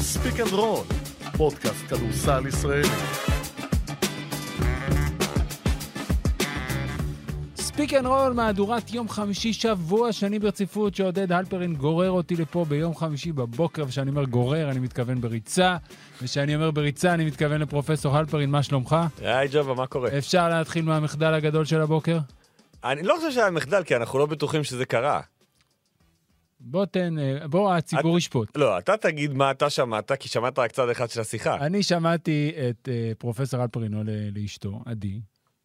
ספיק אנד רול, פודקאסט כדורסל ישראלי. ספיק אנד רול, מהדורת יום חמישי, שבוע שני ברציפות, שעודד הלפרין גורר אותי לפה ביום חמישי בבוקר, וכשאני אומר גורר, אני מתכוון בריצה, וכשאני אומר בריצה, אני מתכוון לפרופסור הלפרין, מה שלומך? היי ג'ובה, מה קורה? אפשר להתחיל מהמחדל הגדול של הבוקר? אני לא חושב שהיה מחדל, כי אנחנו לא בטוחים שזה קרה. בוא תן, אה, בוא הציבור ישפוט. לא, אתה תגיד מה אתה שמעת, כי שמעת רק צד אחד של השיחה. אני שמעתי את אה, פרופסור הלפרין עולה לאשתו, עדי,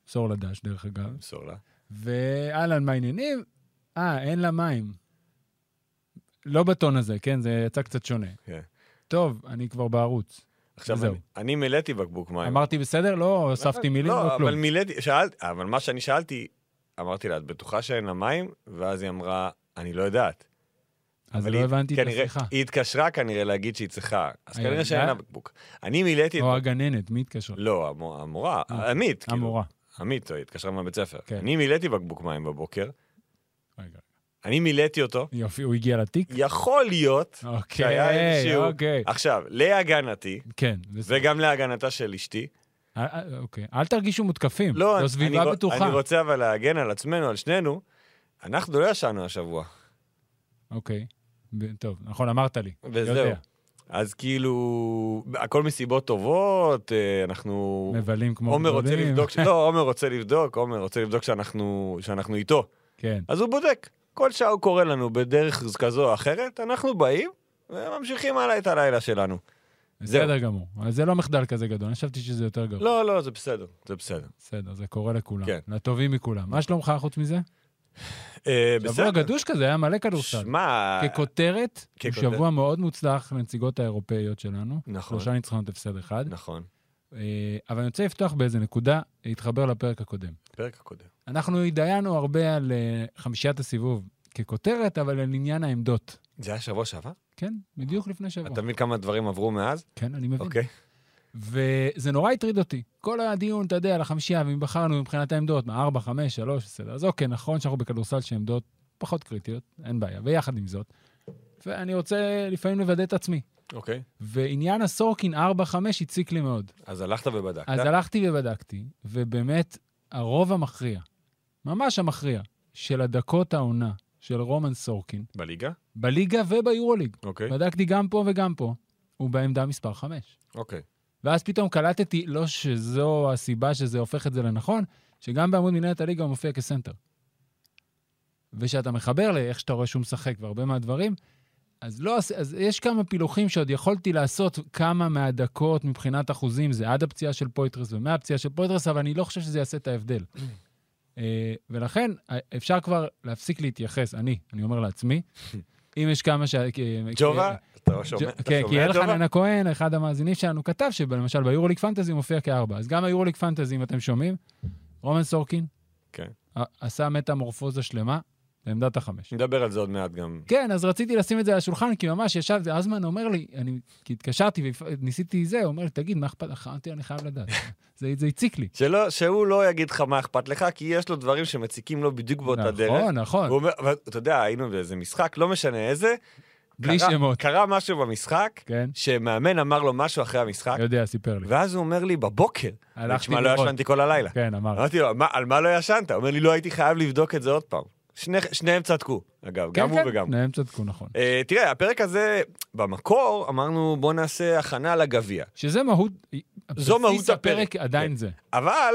סור לדש דרך אגב, אמסור לה. ואהלן, מה העניינים? אה, אין לה מים. לא בטון הזה, כן? זה יצא קצת שונה. כן. טוב, אני כבר בערוץ. עכשיו, וזהו. אני- אני מילאתי בקבוק מים. אמרתי בסדר? לא הוספתי מילים, לא, לא אבל כלום. מילאתי, שאלת, אבל מה שאני שאלתי, אמרתי לה, את בטוחה שאין לה מים? ואז היא אמרה, אני לא יודעת. אז אבל לא היא- הבנתי את כנראה- השיחה. היא התקשרה כנראה להגיד שהיא צריכה, אז אה, כנראה שאין אה? לה בקבוק. אני מילאתי... את- או הגננת, מי התקשר? לא, המו- המורה, לא, אה, עמית, כאילו. המורה. עמית, היא התקשרה מהבית ספר. כן. אני מילאתי בקבוק מים בבוקר, רגע. אני מילאתי אותו, יופי, הוא הגיע לתיק? יכול אה, להיות שהיה אוקיי, איזשהו... אוקיי. עכשיו, להגנתי, כן, בסדר. וגם להגנתה של אשתי, אה, אה, אוקיי. אל תרגישו מותקפים, לא, זו סביבה אני, רוצ- בטוחה. אני רוצה אבל להגן על עצמנו, על שנינו, אנחנו לא ישנו השבוע, אוקיי. ב- טוב, נכון, אמרת לי. וזהו. יודע. אז כאילו, הכל מסיבות טובות, אה, אנחנו... מבלים כמו עומר רוצה גדולים. לבדוק, ש- לא, עומר רוצה לבדוק, עומר רוצה לבדוק שאנחנו, שאנחנו איתו. כן. אז הוא בודק. כל שעה הוא קורא לנו בדרך כזו או אחרת, אנחנו באים וממשיכים הלאה את הלילה שלנו. זהו. בסדר גמור. אז זה לא מחדל כזה גדול, אני חשבתי שזה יותר גרוע. לא, לא, זה בסדר, זה בסדר. בסדר, זה קורה לכולם. כן. לטובים מכולם. מה שלומך חוץ מזה? אה, שבוע בסדר. גדוש כזה, היה מלא כדורסל. שמע, ככותרת, הוא ככותרת. שבוע מאוד מוצלח לנציגות האירופאיות שלנו. נכון. שלושה ניצחונות הפסד אחד. נכון, אה, אבל אני רוצה לפתוח באיזה נקודה, להתחבר לפרק הקודם. פרק הקודם. אנחנו התדיינו הרבה על אה, חמישיית הסיבוב ככותרת, אבל על עניין העמדות. זה היה שבוע שעבר? כן, בדיוק לפני שבוע. אתה מבין כמה דברים עברו מאז? כן, אני מבין. אוקיי. וזה נורא הטריד אותי. כל הדיון, אתה יודע, על החמישייה, ואם בחרנו מבחינת העמדות, מה, 4, 5, 3, בסדר. אז אוקיי, נכון שאנחנו בכדורסל שעמדות פחות קריטיות, אין בעיה. ויחד עם זאת, ואני רוצה לפעמים לוודא את עצמי. אוקיי. ועניין הסורקין 4-5 הציק לי מאוד. אז הלכת ובדקת. אז הלכתי ובדקתי, ובאמת, הרוב המכריע, ממש המכריע, של הדקות העונה של רומן סורקין, בליגה? בליגה וביורוליג, אוקיי. בדקתי גם פה וגם פה, הוא בעמדה מספר 5. אוקיי. כן. ואז פתאום קלטתי, לא שזו הסיבה שזה הופך את זה לנכון, שגם בעמוד מנהלת הליגה הוא מופיע כסנטר. וכשאתה מחבר לאיך שאתה רואה שהוא משחק והרבה מהדברים, אז, לא, עש- אז יש כמה פילוחים שעוד יכולתי לעשות כמה מהדקות מבחינת אחוזים, זה עד הפציעה של פויטרס ומהפציעה של פויטרס, אבל אני לא חושב שזה יעשה את ההבדל. אה, ולכן אה, אפשר כבר להפסיק להתייחס, אני, אני אומר לעצמי, אם יש כמה ש... ג'ובה? אתה לא שומע? אתה כן, כי שומע, אלחנן ג'ובה? חננה כהן, אחד המאזינים שלנו, כתב שלמשל ביורוליג פנטזי מופיע כארבע. אז גם היורוליג פנטזי, אם אתם שומעים, רומן סורקין כן. ע- עשה מטמורפוזה שלמה לעמדת החמש. נדבר על זה עוד מעט גם. כן, אז רציתי לשים את זה על השולחן, כי ממש ישב, אזמן אומר לי, אני כי התקשרתי וניסיתי זה, הוא אומר לי, תגיד, מה אכפת לך? אמרתי, אני חייב לדעת. זה זה הציק לי. שלא, שהוא לא יגיד לך מה אכפת לך, כי יש לו דברים שמציקים לו בדיוק באותה דרך. נכון, נכון. הוא אומר, אבל אתה יודע, היינו באיזה משחק, לא משנה איזה. בלי קרה- שמות. קרה משהו במשחק, כן, שמאמן אמר לו משהו אחרי המשחק, יודע, סיפר לי. ואז הוא אומר לי, בבוקר, כן. הלכתי תשמע, לא לראות. ישנתי אה, כל הלילה. כן, אמר. אמרתי לו, "מה- על מה לא ישנת? הוא אומר לי, לא הייתי חייב לבדוק את זה עוד פעם. שני- שניהם צדקו, אגב, גם הוא כן, וגם כן, הוא. הם צדקו, נכון. אה, תראה, הפרק הזה, במקור אמרנו, בוא נעשה הכנה לגביע. שזה מהות, זו מהות בסיס הפרק הפרק, עדיין כן. זה. אבל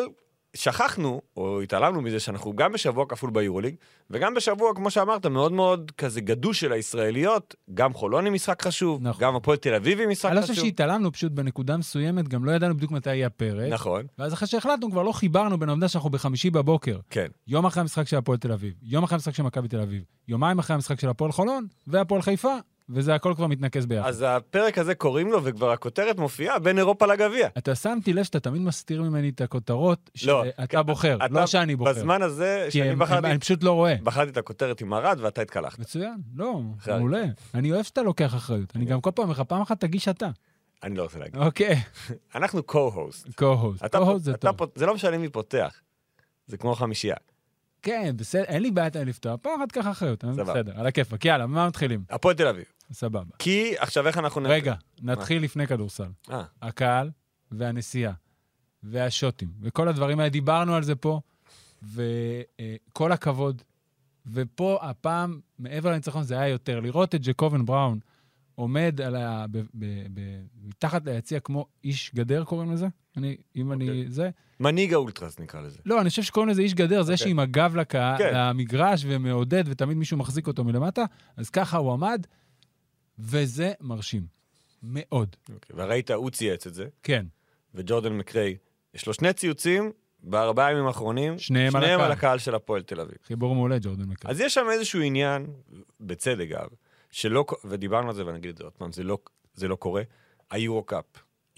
שכחנו, או התעלמנו מזה, שאנחנו גם בשבוע כפול ביורוליג, וגם בשבוע, כמו שאמרת, מאוד מאוד כזה גדוש של הישראליות, גם חולון עם משחק חשוב, נכון. גם הפועל תל אביב עם משחק אני לא חושב חשוב. שהתעלמנו פשוט בנקודה מסוימת, גם לא ידענו בדיוק מתי יהיה הפרק. נכון, ואז אחרי שהחלטנו, כבר לא חיברנו בין העובדה שאנחנו בחמישי בבוקר, כן. יום אחרי המשחק של הפועל תל אביב, יום אחרי המשחק של מכבי תל אביב, יומיים אחרי המשחק של הפועל חולון, והפועל חיפה, וזה הכל כבר מתנקז ביחד. אז הפרק הזה קוראים לו, וכבר הכותרת מופיעה, בין אירופה לגביע. אתה שמתי לב שאתה תמיד מסתיר ממני את הכותרות לא, שאתה בוחר, אתה- לא שאני בוחר. בזמן הזה כי שאני הם- בחרתי, הם- אני פשוט לא רואה. בחרתי את הכותרת עם ארד ואתה התקלחת. מצוין, לא, אחרי. מעולה. אני אוהב שאתה לוקח אחריות. אני גם כל פעם אומר לך, פעם אחת תגיש אתה. אני לא רוצה להגיד. אוקיי, אנחנו co-host. קו-הוסט. אתה קו-הוסט פות- זה אתה טוב. פות- זה לא משנה מי פותח. זה כמו חמישייה. כן, בסדר, אין לי בעיה לפתוח. פעם אחת קח אחריות, אה? סבבה. בסדר, על הכיפאק. יאללה, מה מתחילים? הפועל תל אביב. סבבה. כי עכשיו איך אנחנו... נ- רגע, נתחיל לפני כדורסל. אה, הקהל והנסיעה והשוטים וכל הדברים האלה, דיברנו על זה פה, וכל הכבוד. ופה הפעם, מעבר לניצחון, זה היה יותר. לראות את ג'קובן בראון עומד על ה... ב, ב, ב, מתחת ליציע כמו איש גדר, קוראים לזה? אני, אם אני... אוקיי. זה... מנהיג האולטרס נקרא לזה. לא, אני חושב שקוראים לזה איש גדר, זה אוקיי. שעם הגב לקה, כן. למגרש ומעודד, ותמיד מישהו מחזיק אותו מלמטה, אז ככה הוא עמד, וזה מרשים. מאוד. אוקיי, וראית, הוא צייץ את זה, כן. וג'ורדן מקריי, יש לו שני ציוצים בארבעה ימים האחרונים, שניהם על שניהם הקהל. על הקהל של הפועל תל אביב. חיבור מעולה, ג'ורדן מקארט. אז יש שם איזשהו עניין, בצדק אגב, שלא, ק- ודיברנו על זה ואני אגיד את זה עוד פעם, זה לא, זה לא קורה, היורו קאפ.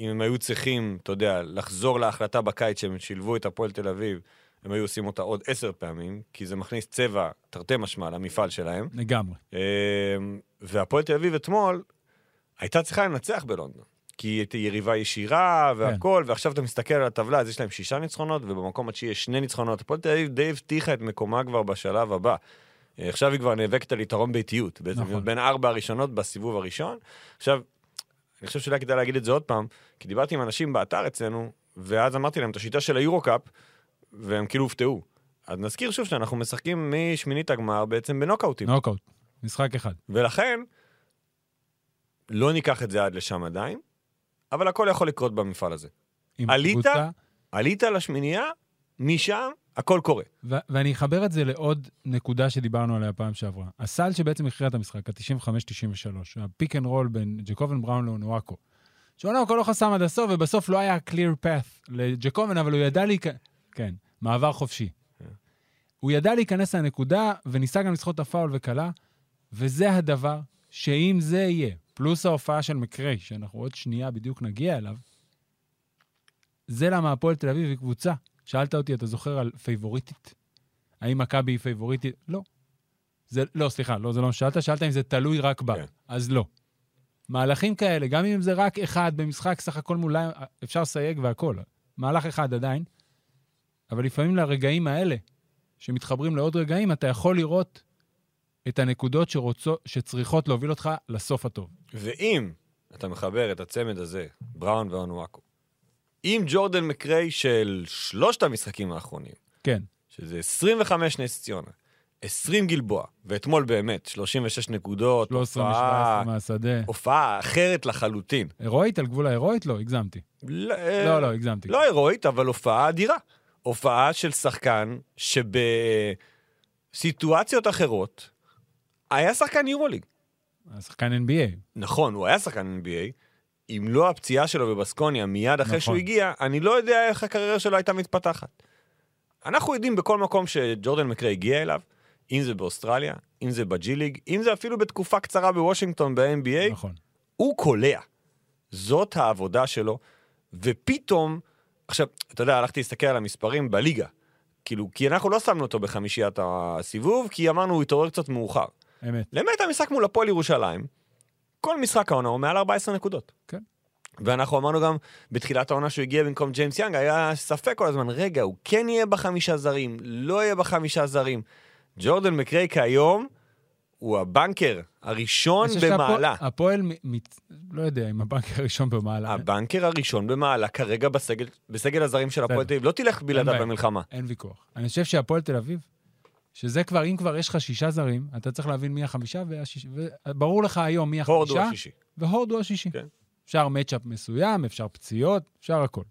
אם הם היו צריכים, אתה יודע, לחזור להחלטה בקיץ שהם שילבו את הפועל תל אביב, הם היו עושים אותה עוד עשר פעמים, כי זה מכניס צבע, תרתי משמע, למפעל שלהם. לגמרי. אמ, והפועל תל אביב אתמול הייתה צריכה לנצח בלונדון. כי היא הייתה יריבה ישירה והכל, ועכשיו אתה מסתכל על הטבלה, אז יש להם שישה ניצחונות, ובמקום התשיעי יש שני ניצחונות. הפועל תל אביב די הבטיחה את מקומה כבר בשלב הבא. אה, עכשיו היא כבר נאבקת על יתרון ביתיות, בעצם נכון. נכון. בין ארבע הראשונות בסיבוב הראשון. עכשיו, אני חושב שאולי כדאי להגיד את זה עוד פעם, כי דיברתי עם אנשים באתר אצלנו, ואז אמרתי להם את השיטה של היורו-קאפ, והם כאילו הופתעו. אז נזכיר שוב שאנחנו משחקים משמינית הגמר בעצם בנוקאוטים. נוקאוט. משחק אחד. ולכן, לא ניקח את זה עד לשם עדיין, אבל הכל יכול לקרות במפעל הזה. עם עלית? קבוצה, עלית לשמינייה, משם הכל קורה. ו- ואני אחבר את זה לעוד נקודה שדיברנו עליה פעם שעברה. הסל שבעצם הכריע את המשחק, ה-95-93, הפיק אנד רול בין ג'קובן בראון לאונואקו. שאונואקו לא חסם עד הסוף, ובסוף לא היה clear path לג'קובן, אבל הוא ידע להיכנס... כן, מעבר חופשי. הוא ידע להיכנס לנקודה, וניסה גם לסחוט את הפאול וכלה, וזה הדבר שאם זה יהיה, פלוס ההופעה של מקריי, שאנחנו עוד שנייה בדיוק נגיע אליו, זה למה הפועל תל אביב היא קבוצה. שאלת אותי, אתה זוכר על פייבוריטית? האם מכבי היא פייבוריטית? לא. זה, לא, סליחה, לא, זה לא מה ששאלת, שאלת אם זה תלוי רק בה. כן. אז לא. מהלכים כאלה, גם אם זה רק אחד במשחק, סך הכל מולה, אפשר לסייג והכול. מהלך אחד עדיין, אבל לפעמים לרגעים האלה, שמתחברים לעוד רגעים, אתה יכול לראות את הנקודות שרוצו, שצריכות להוביל אותך לסוף הטוב. ואם אתה מחבר את הצמד הזה, בראון ואונואקו, עם ג'ורדן מקריי של שלושת המשחקים האחרונים, כן, שזה 25 נס ציונה, 20 גלבוע, ואתמול באמת, 36 נקודות, 13 הופעה, מ-17 מהשדה. הופעה אחרת לחלוטין. הירואית? על גבול ההירואית? לא, הגזמתי. לא, לא, הגזמתי. לא הירואית, אבל הופעה אדירה. הופעה של שחקן שבסיטואציות אחרות היה שחקן יורוליג. השחקן NBA. נכון, הוא היה שחקן NBA. אם לא הפציעה שלו בבסקוניה מיד אחרי נכון. נכון. שהוא הגיע, אני לא יודע איך הקריירה שלו הייתה מתפתחת. אנחנו יודעים בכל מקום שג'ורדן מקרה הגיע אליו, אם זה באוסטרליה, אם זה בג'י ליג, אם זה אפילו בתקופה קצרה בוושינגטון ב-NBA, נכון. הוא קולע. זאת העבודה שלו, ופתאום, עכשיו, אתה יודע, הלכתי להסתכל על המספרים בליגה. כאילו, כי אנחנו לא שמנו אותו בחמישיית הסיבוב, כי אמרנו, הוא התעורר קצת מאוחר. אמת. למעט המשחק מול הפועל ירושלים, כל משחק העונה הוא מעל 14 נקודות. כן. ואנחנו אמרנו גם בתחילת העונה שהוא הגיע במקום ג'יימס יאנג, היה ספק כל הזמן, רגע, הוא כן יהיה בחמישה זרים, לא יהיה בחמישה זרים. ג'ורדן מקריי כיום הוא הבנקר הראשון אני חושב נכון, במעלה. שהפועל- הפועל, מ- מת- לא יודע אם הבנק הראשון במעלה. הבנקר הראשון במעלה כרגע בסגל, בסגל הזרים של הפועל בסדר. תל אביב, לא תלך בלעדיו בעיה. במלחמה. אין ויכוח. אני חושב שהפועל תל אביב, שזה כבר, אם כבר יש לך שישה זרים, אתה צריך להבין מי החמישה, והשיש- וברור לך היום מי הורד הוא החמישה, השישי. והורד הוא השישי. כן. אפשר מצ'אפ מסוים, אפשר פציעות, אפשר הכל.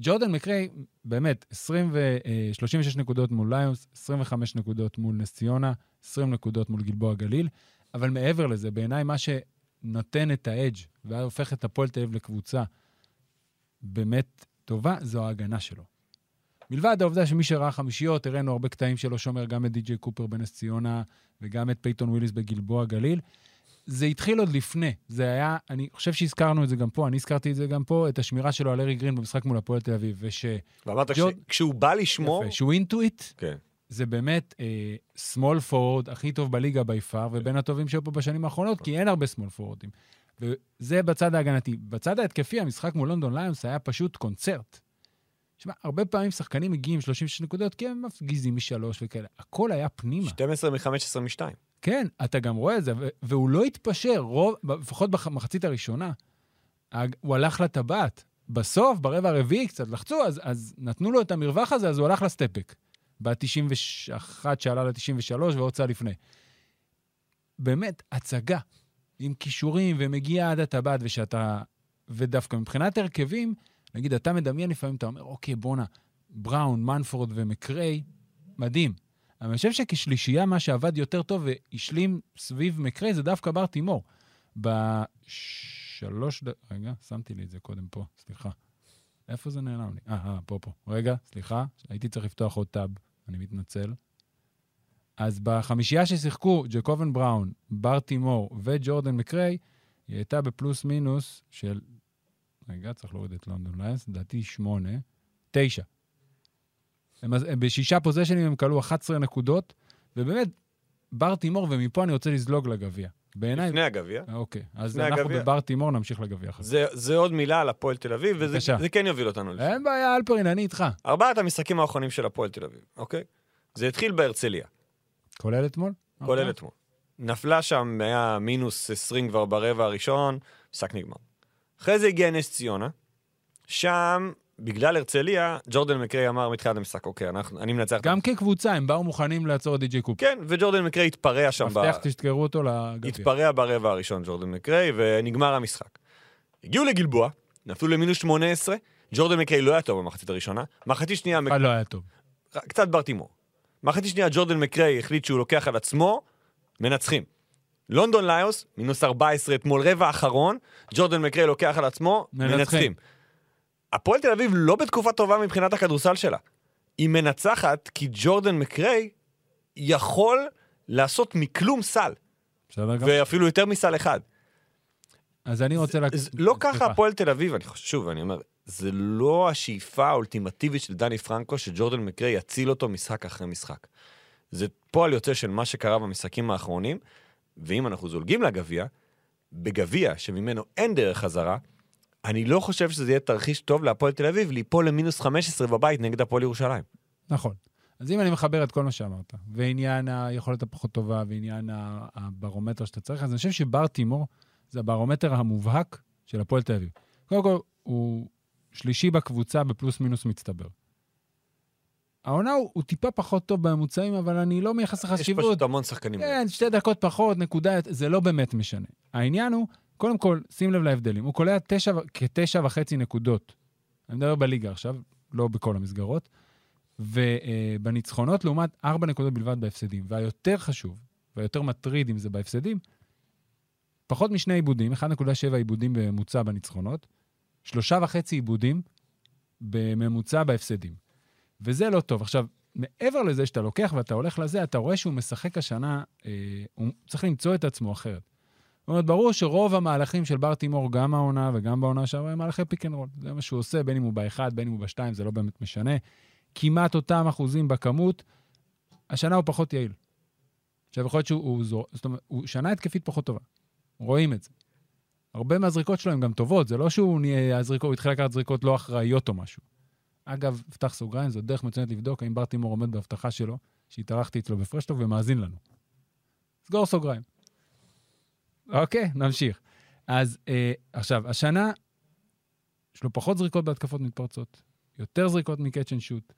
ג'ורדן מקריי, באמת, 20 ו... אה, 36 נקודות מול ליונס, 25 נקודות מול נס ציונה, 20 נקודות מול גלבוע גליל, אבל מעבר לזה, בעיניי מה שנותן את האדג' והופך את הפועל תל אביב לקבוצה באמת טובה, זו ההגנה שלו. מלבד העובדה שמי שראה חמישיות, הראינו הרבה קטעים שלו שומר גם את די.ג'יי קופר בנס ציונה וגם את פייתון וויליס בגלבוע גליל. זה התחיל עוד לפני, זה היה, אני חושב שהזכרנו את זה גם פה, אני הזכרתי את זה גם פה, את השמירה שלו על ארי גרין במשחק מול הפועל תל אביב, וש... ואמרת, ג'ורד- כשהוא בא לשמור... יפה, שהוא אינטואיט, כן. זה באמת אה, small forward הכי טוב בליגה by far, ובין הטובים שהיו פה בשנים האחרונות, כי אין הרבה small forwardים. וזה בצד ההגנתי. בצד ההתקפי, המשחק מול לונדון ליונס היה פשוט קונצרט. תשמע, הרבה פעמים שחקנים מגיעים 36 נקודות כי הם מפגיזים משלוש וכאלה. הכל היה פנימה. 12 מ-15 מ-2. כן, אתה גם רואה את זה, ו- והוא לא התפשר, רוב, לפחות במחצית הראשונה. הג- הוא הלך לטבעת. בסוף, ברבע הרביעי קצת לחצו, אז, אז נתנו לו את המרווח הזה, אז הוא הלך לסטפק. ב-91 שעלה ל-93 ועוד צעד לפני. באמת, הצגה. עם כישורים ומגיע עד הטבעת ושאתה... ודווקא מבחינת הרכבים, נגיד, אתה מדמיין לפעמים, אתה אומר, אוקיי, בואנה, בראון, מנפורד ומקריי, מדהים. אבל אני חושב שכשלישייה, מה שעבד יותר טוב והשלים סביב מקריי, זה דווקא בר תימור. בשלוש ד... רגע, שמתי לי את זה קודם פה, סליחה. איפה זה נעלם לי? אה, אה, פה, פה. רגע, סליחה, הייתי צריך לפתוח עוד טאב, אני מתנצל. אז בחמישייה ששיחקו ג'קובן בראון, בר תימור וג'ורדן מקריי, היא הייתה בפלוס מינוס של... רגע, צריך להוריד את לונדון ליינס, לדעתי שמונה, תשע. הם, אז- הם בשישה פוזיישנים הם כלו 11 נקודות, ובאמת, בר תימור, ומפה אני רוצה לזלוג לגביע. בעיניי... לפני הגביע. אוקיי, אז לפני אנחנו הגביע. בבר תימור נמשיך לגביע אחר כך. זה, זה עוד מילה על הפועל תל אביב, בבקשה. אה? וזה זה כן יוביל אותנו לשם. אין בעיה, אלפרין, אני איתך. ארבעת המשחקים האחרונים של הפועל תל אביב, אוקיי? זה התחיל בהרצליה, אוקיי. כולל אתמול? אוקיי. כולל אתמול. נפלה שם, היה מינוס 20 כבר ברבע הראשון, משחק נגמר. אחרי זה הגיע נס ציונה, שם, בגלל הרצליה, ג'ורדן מקריי אמר מתחילת המשחק, אוקיי, אנחנו, אני מנצח. את גם כקבוצה, הם באו מוכנים לעצור את די.ג'י קופר. כן, וג'ורדן מקריי התפרע שם. ב- מבטיח שתזכרו אותו לגביע. התפרע ברבע הראשון ג'ורדן מקריי, ונגמר המשחק. הגיעו לגלבוע, נפלו למינוס 18, ג'ורדן מקריי לא היה טוב במחצית הראשונה, מחצית שנייה, מק- אה, לא היה טוב. קצת ברטימור. מחצית שנייה ג'ורדן מקריי החליט שהוא לוקח על עצמו, מנצחים. לונדון ליוס, מינוס 14 אתמול, רבע אחרון, ג'ורדן מקריי לוקח על עצמו, מנצחים. מנצחים. הפועל תל אביב לא בתקופה טובה מבחינת הכדורסל שלה. היא מנצחת כי ג'ורדן מקריי יכול לעשות מכלום סל, בסדר גמור. ואפילו יותר מסל אחד. אז אני רוצה... לק- זה לא ככה סליחה. הפועל תל אביב, אני חושב, שוב, אני אומר, זה לא השאיפה האולטימטיבית של דני פרנקו שג'ורדן מקרי יציל אותו משחק אחרי משחק. זה פועל יוצא של מה שקרה במשחקים האחרונים, ואם אנחנו זולגים לגביע, בגביע שממנו אין דרך חזרה, אני לא חושב שזה יהיה תרחיש טוב להפועל תל אביב ליפול למינוס 15 בבית נגד הפועל ירושלים. נכון. אז אם אני מחבר את כל מה שאמרת, ועניין היכולת הפחות טובה, ועניין ה- הברומטר שאתה צריך, אז אני חושב שבר תימור זה הברומטר המובהק של הפועל תל אביב. קודם כל, הוא שלישי בקבוצה בפלוס מינוס מצטבר. העונה הוא, הוא טיפה פחות טוב בממוצעים, אבל אני לא מייחס יש לחשיבות. פשוט המון שחקנים. כן, שתי דקות פחות, נקודה, זה לא באמת משנה. העניין הוא, קודם כל, שים לב להבדלים. הוא קולע תשע ו- כתשע וחצי נקודות. אני מדבר בליגה עכשיו, לא בכל המסגרות. ובניצחונות, לעומת ארבע נקודות בלבד בהפסדים. והיותר חשוב, והיותר מטריד אם זה בהפסדים, פחות משני עיבודים, 1.7 עיבודים בממוצע בניצחונות, שלושה וחצי עיבודים בממוצע בהפסדים. וזה לא טוב. עכשיו, מעבר לזה שאתה לוקח ואתה הולך לזה, אתה רואה שהוא משחק השנה, אה, הוא צריך למצוא את עצמו אחרת. זאת אומרת, ברור שרוב המהלכים של בר תימור, גם העונה וגם בעונה שעברה, הם מהלכי פיק אנד רול. זה מה שהוא עושה, בין אם הוא באחד, בין אם הוא בשתיים, זה לא באמת משנה. כמעט אותם אחוזים בכמות, השנה הוא פחות יעיל. עכשיו, יכול להיות שהוא הוא זור... זאת אומרת, הוא שנה התקפית פחות טובה. רואים את זה. הרבה מהזריקות שלו הן גם טובות, זה לא שהוא נהיה, הזריקות, הוא התחיל לקחת זריקות לא אחראיות או משהו. אגב, פתח סוגריים, זו דרך מצוינת לבדוק האם ברטימור עומד בהבטחה שלו, שהתארחתי אצלו בפרשטוק ומאזין לנו. סגור סוגריים. אוקיי, נמשיך. אז אה, עכשיו, השנה, יש לו פחות זריקות בהתקפות מתפרצות, יותר זריקות מקאצ' אנד שוט,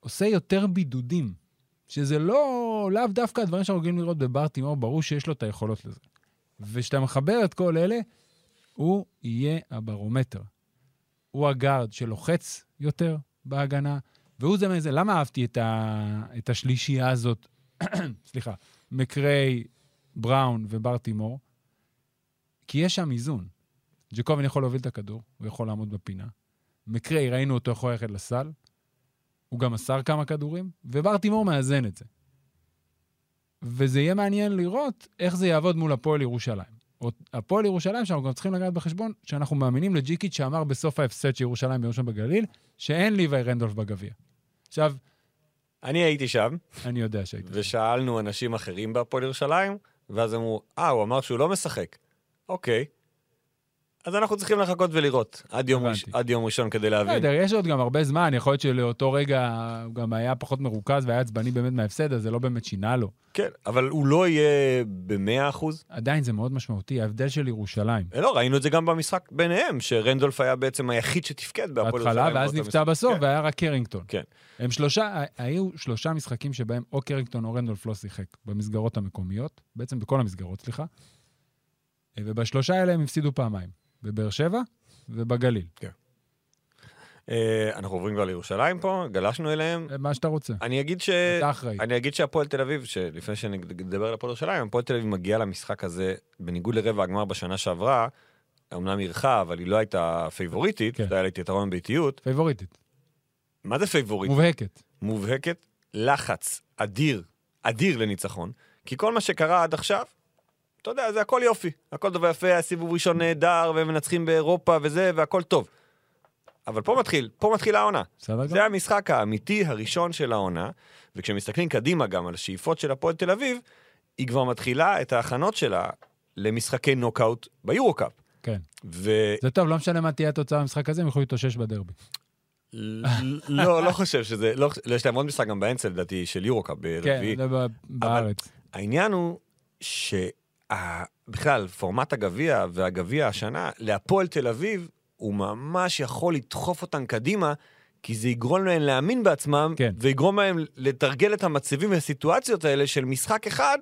עושה יותר בידודים, שזה לא, לאו דווקא הדברים שאנחנו רגילים לראות בברטימור, ברור שיש לו את היכולות לזה. וכשאתה מחבר את כל אלה, הוא יהיה הברומטר. הוא הגארד שלוחץ יותר בהגנה, והוא זה מזה. למה אהבתי את, ה... את השלישייה הזאת, סליחה, מקריי, בראון וברטימור? כי יש שם איזון. ג'קובן יכול להוביל את הכדור, הוא יכול לעמוד בפינה. מקריי, ראינו אותו יכול ללכת לסל, הוא גם מסר כמה כדורים, וברטימור מאזן את זה. וזה יהיה מעניין לראות איך זה יעבוד מול הפועל ירושלים. או- הפועל ירושלים, שאנחנו גם צריכים לקחת בחשבון, שאנחנו מאמינים לג'יקיץ' שאמר בסוף ההפסד של ירושלים ביום שם בגליל, שאין ליוואי רנדולף בגביע. עכשיו, אני הייתי שם, אני יודע שהיית. ושאלנו אנשים אחרים בהפועל ירושלים, ואז אמרו, אה, הוא אמר שהוא לא משחק. אוקיי. אז אנחנו צריכים לחכות ולראות עד יום, הבנתי. לא ראש, עד יום ראשון כדי להבין. בסדר, יש עוד גם הרבה זמן, יכול להיות שלאותו רגע הוא גם היה פחות מרוכז והיה עצבני באמת מההפסד, אז זה לא באמת שינה לו. כן, אבל הוא לא יהיה במאה אחוז. עדיין זה מאוד משמעותי, ההבדל של ירושלים. אה, לא, ראינו את זה גם במשחק ביניהם, שרנדולף היה בעצם היחיד שתפקד בהפועל בהתחלה, ירושלים ואז באותו נפצע משחק. בסוף, כן. והיה רק קרינגטון. כן. הם שלושה, היו שלושה משחקים שבהם או קרינגטון או רנדולף לא שיחק במסגרות המקומיות, בעצם בכל המסגרות, סליחה, ובשלושה האלה הם הפסידו פעמיים, בבאר שבע ובגליל, אה, אנחנו עוברים כבר לירושלים פה, גלשנו אליהם. מה שאתה רוצה, אני אגיד ש... אתה אחראי. אה, אני אגיד שהפועל תל אביב, שלפני שנדבר על הפועל ירושלים, הפועל תל אביב מגיעה למשחק הזה, בניגוד לרבע הגמר בשנה שעברה, אמנם אירחה, אבל היא לא הייתה פייבוריטית, כן. כן. היה לה את יתרון ביתיות. פייבוריטית, מה זה פייבוריטית? מובהקת. מובהקת, לחץ אדיר, אדיר לניצחון, כי כל מה שקרה עד עכשיו, אתה יודע, זה הכל יופי, הכל טוב ויפה, היה סיבוב ראשון נהדר, והם מנצחים באירופה וזה, והכל טוב. אבל פה מתחיל, פה מתחילה העונה. בסדר גמור? זה המשחק האמיתי הראשון של העונה, וכשמסתכלים קדימה גם על השאיפות של הפועל תל אביב, היא כבר מתחילה את ההכנות שלה למשחקי נוקאוט ביורו-קאפ. כן. ו... זה טוב, לא משנה מה תהיה התוצאה במשחק הזה, הם יוכלו להתאושש בדרבי. לא, לא חושב שזה... לא, חושב- יש להם עוד משחק גם באמצע, לדעתי, של יורו-קאפ כן, ברביעי. זה ב- בארץ. העניין הוא שבכלל, פורמט הגביע והגביע השנה, להפועל תל אביב, הוא ממש יכול לדחוף אותן קדימה, כי זה יגרום להן להאמין בעצמם, כן. ויגרום להן לתרגל את המצבים והסיטואציות האלה של משחק אחד,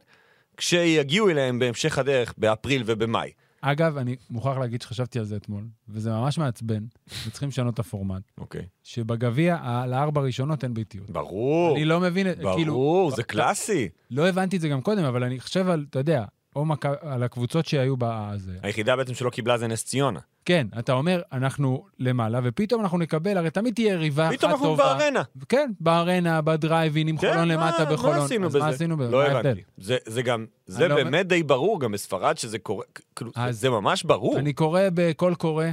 כשיגיעו אליהם בהמשך הדרך, באפריל ובמאי. אגב, אני מוכרח להגיד שחשבתי על זה אתמול, וזה ממש מעצבן, וצריכים לשנות את הפורמט, אוקיי. שבגביע, ה- לארבע ראשונות אין ביתיות. ברור, אני לא מבין, את- כאילו, ברור, זה קלאסי. לא הבנתי את זה גם קודם, אבל אני חושב על, אתה יודע, או מק... על הקבוצות שהיו בזה. היחידה בעצם שלא קיבלה זה נס ציונה. כן, אתה אומר, אנחנו למעלה, ופתאום אנחנו נקבל, הרי תמיד תהיה יריבה אחת טובה. פתאום אנחנו בארנה. כן, כן, בארנה, בדרייבין, עם חולון למטה, מה בחולון. עשינו אז בזה? מה עשינו בזה? לא מה ההבדל? הבנתי. זה, זה גם, זה לא אומר- באמת די ברור, גם בספרד שזה קורה, כ- כאילו, אז- זה ממש ברור אני קורא בקול קורא. אה,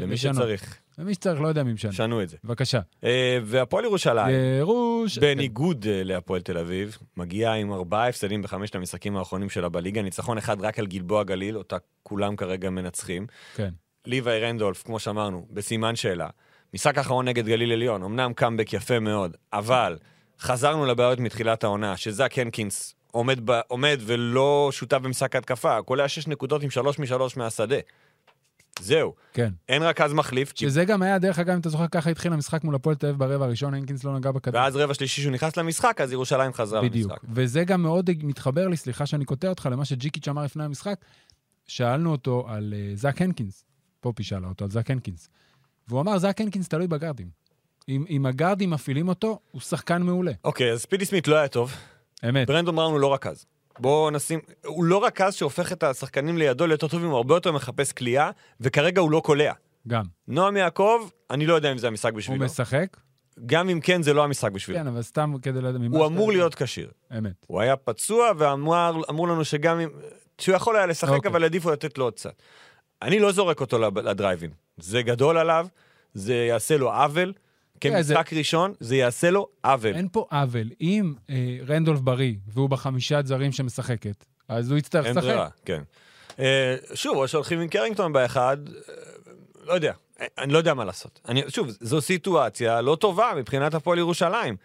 למי לשנות. שצריך. למי שצריך, לא יודע מי משנה. שנו את זה. בבקשה. אה, אה, והפועל ירושלים, ירוש... בניגוד אה, להפועל תל אביב, מגיעה עם ארבעה הפסדים בחמשת המשחקים האחרונים שלה בליגה, ניצחון אחד רק על גלבוע גליל, אותה כולם כרגע מנצחים. כן. ליוואי רנדולף, כמו שאמרנו, בסימן שאלה. משחק אחרון נגד גליל עליון, אמנם קאמבק יפה מאוד, אבל חזרנו לבעיות מתחילת העונה, שזאק הנקינס עומד, ב, עומד ולא שותף במשחק התקפה, כולל שש נקודות עם שלוש משלוש מהשדה. זהו, כן. אין רכז מחליף, כי... שזה גם היה, דרך אגב, אם אתה זוכר, ככה התחיל המשחק מול הפועל תל אביב ברבע הראשון, הנקינס לא נגע בכדור. ואז רבע שלישי שהוא נכנס למשחק, אז ירושלים חזרה בדיוק. למשחק. וזה גם מאוד מתחבר לי, סליחה שאני קוטע אותך, למה שג'יקיץ' אמר לפני המשחק. שאלנו אותו על אה, זאק הנקינס, פופי שאלה אותו על זאק הנקינס. והוא אמר, זאק הנקינס תלוי בגארדים. אם, אם הגארדים מפעילים אותו, הוא שחקן מעולה. אוקיי, אז ספידי סמית לא היה טוב, אמת. ברנדון בראון הוא לא רכז. בואו נשים, הוא לא רכז שהופך את השחקנים לידו ליותר טובים, הוא הרבה יותר מחפש כליאה, וכרגע הוא לא קולע. גם. נועם יעקב, אני לא יודע אם זה המשחק הוא בשבילו. משחק, גם אם כן, זה לא המשחק בשבילו. כן, אבל סתם כדי לדעת ממה... הוא שאתה- אמור להיות כשיר. אמת. הוא היה פצוע ואמר אמרו לנו שגם אם... שהוא יכול היה לשחק, אוקיי. אבל העדיפו לתת לו עוד קצת. אני לא זורק אותו לב- לדרייבין. זה גדול עליו, זה יעשה לו עוול. תראה, כן, זה- כמשחק ראשון, זה יעשה לו עוול. אין פה עוול. אם אה, רנדולף בריא, והוא בחמישיית זרים שמשחקת, אז הוא יצטרך אין לשחק. ברירה, כן. אה, שוב, או שהולכים עם קרינגטון באחד, אה, לא יודע, אה, אני לא יודע מה לעשות. אני, שוב, זו סיטואציה לא טובה מבחינת הפועל ירושלים.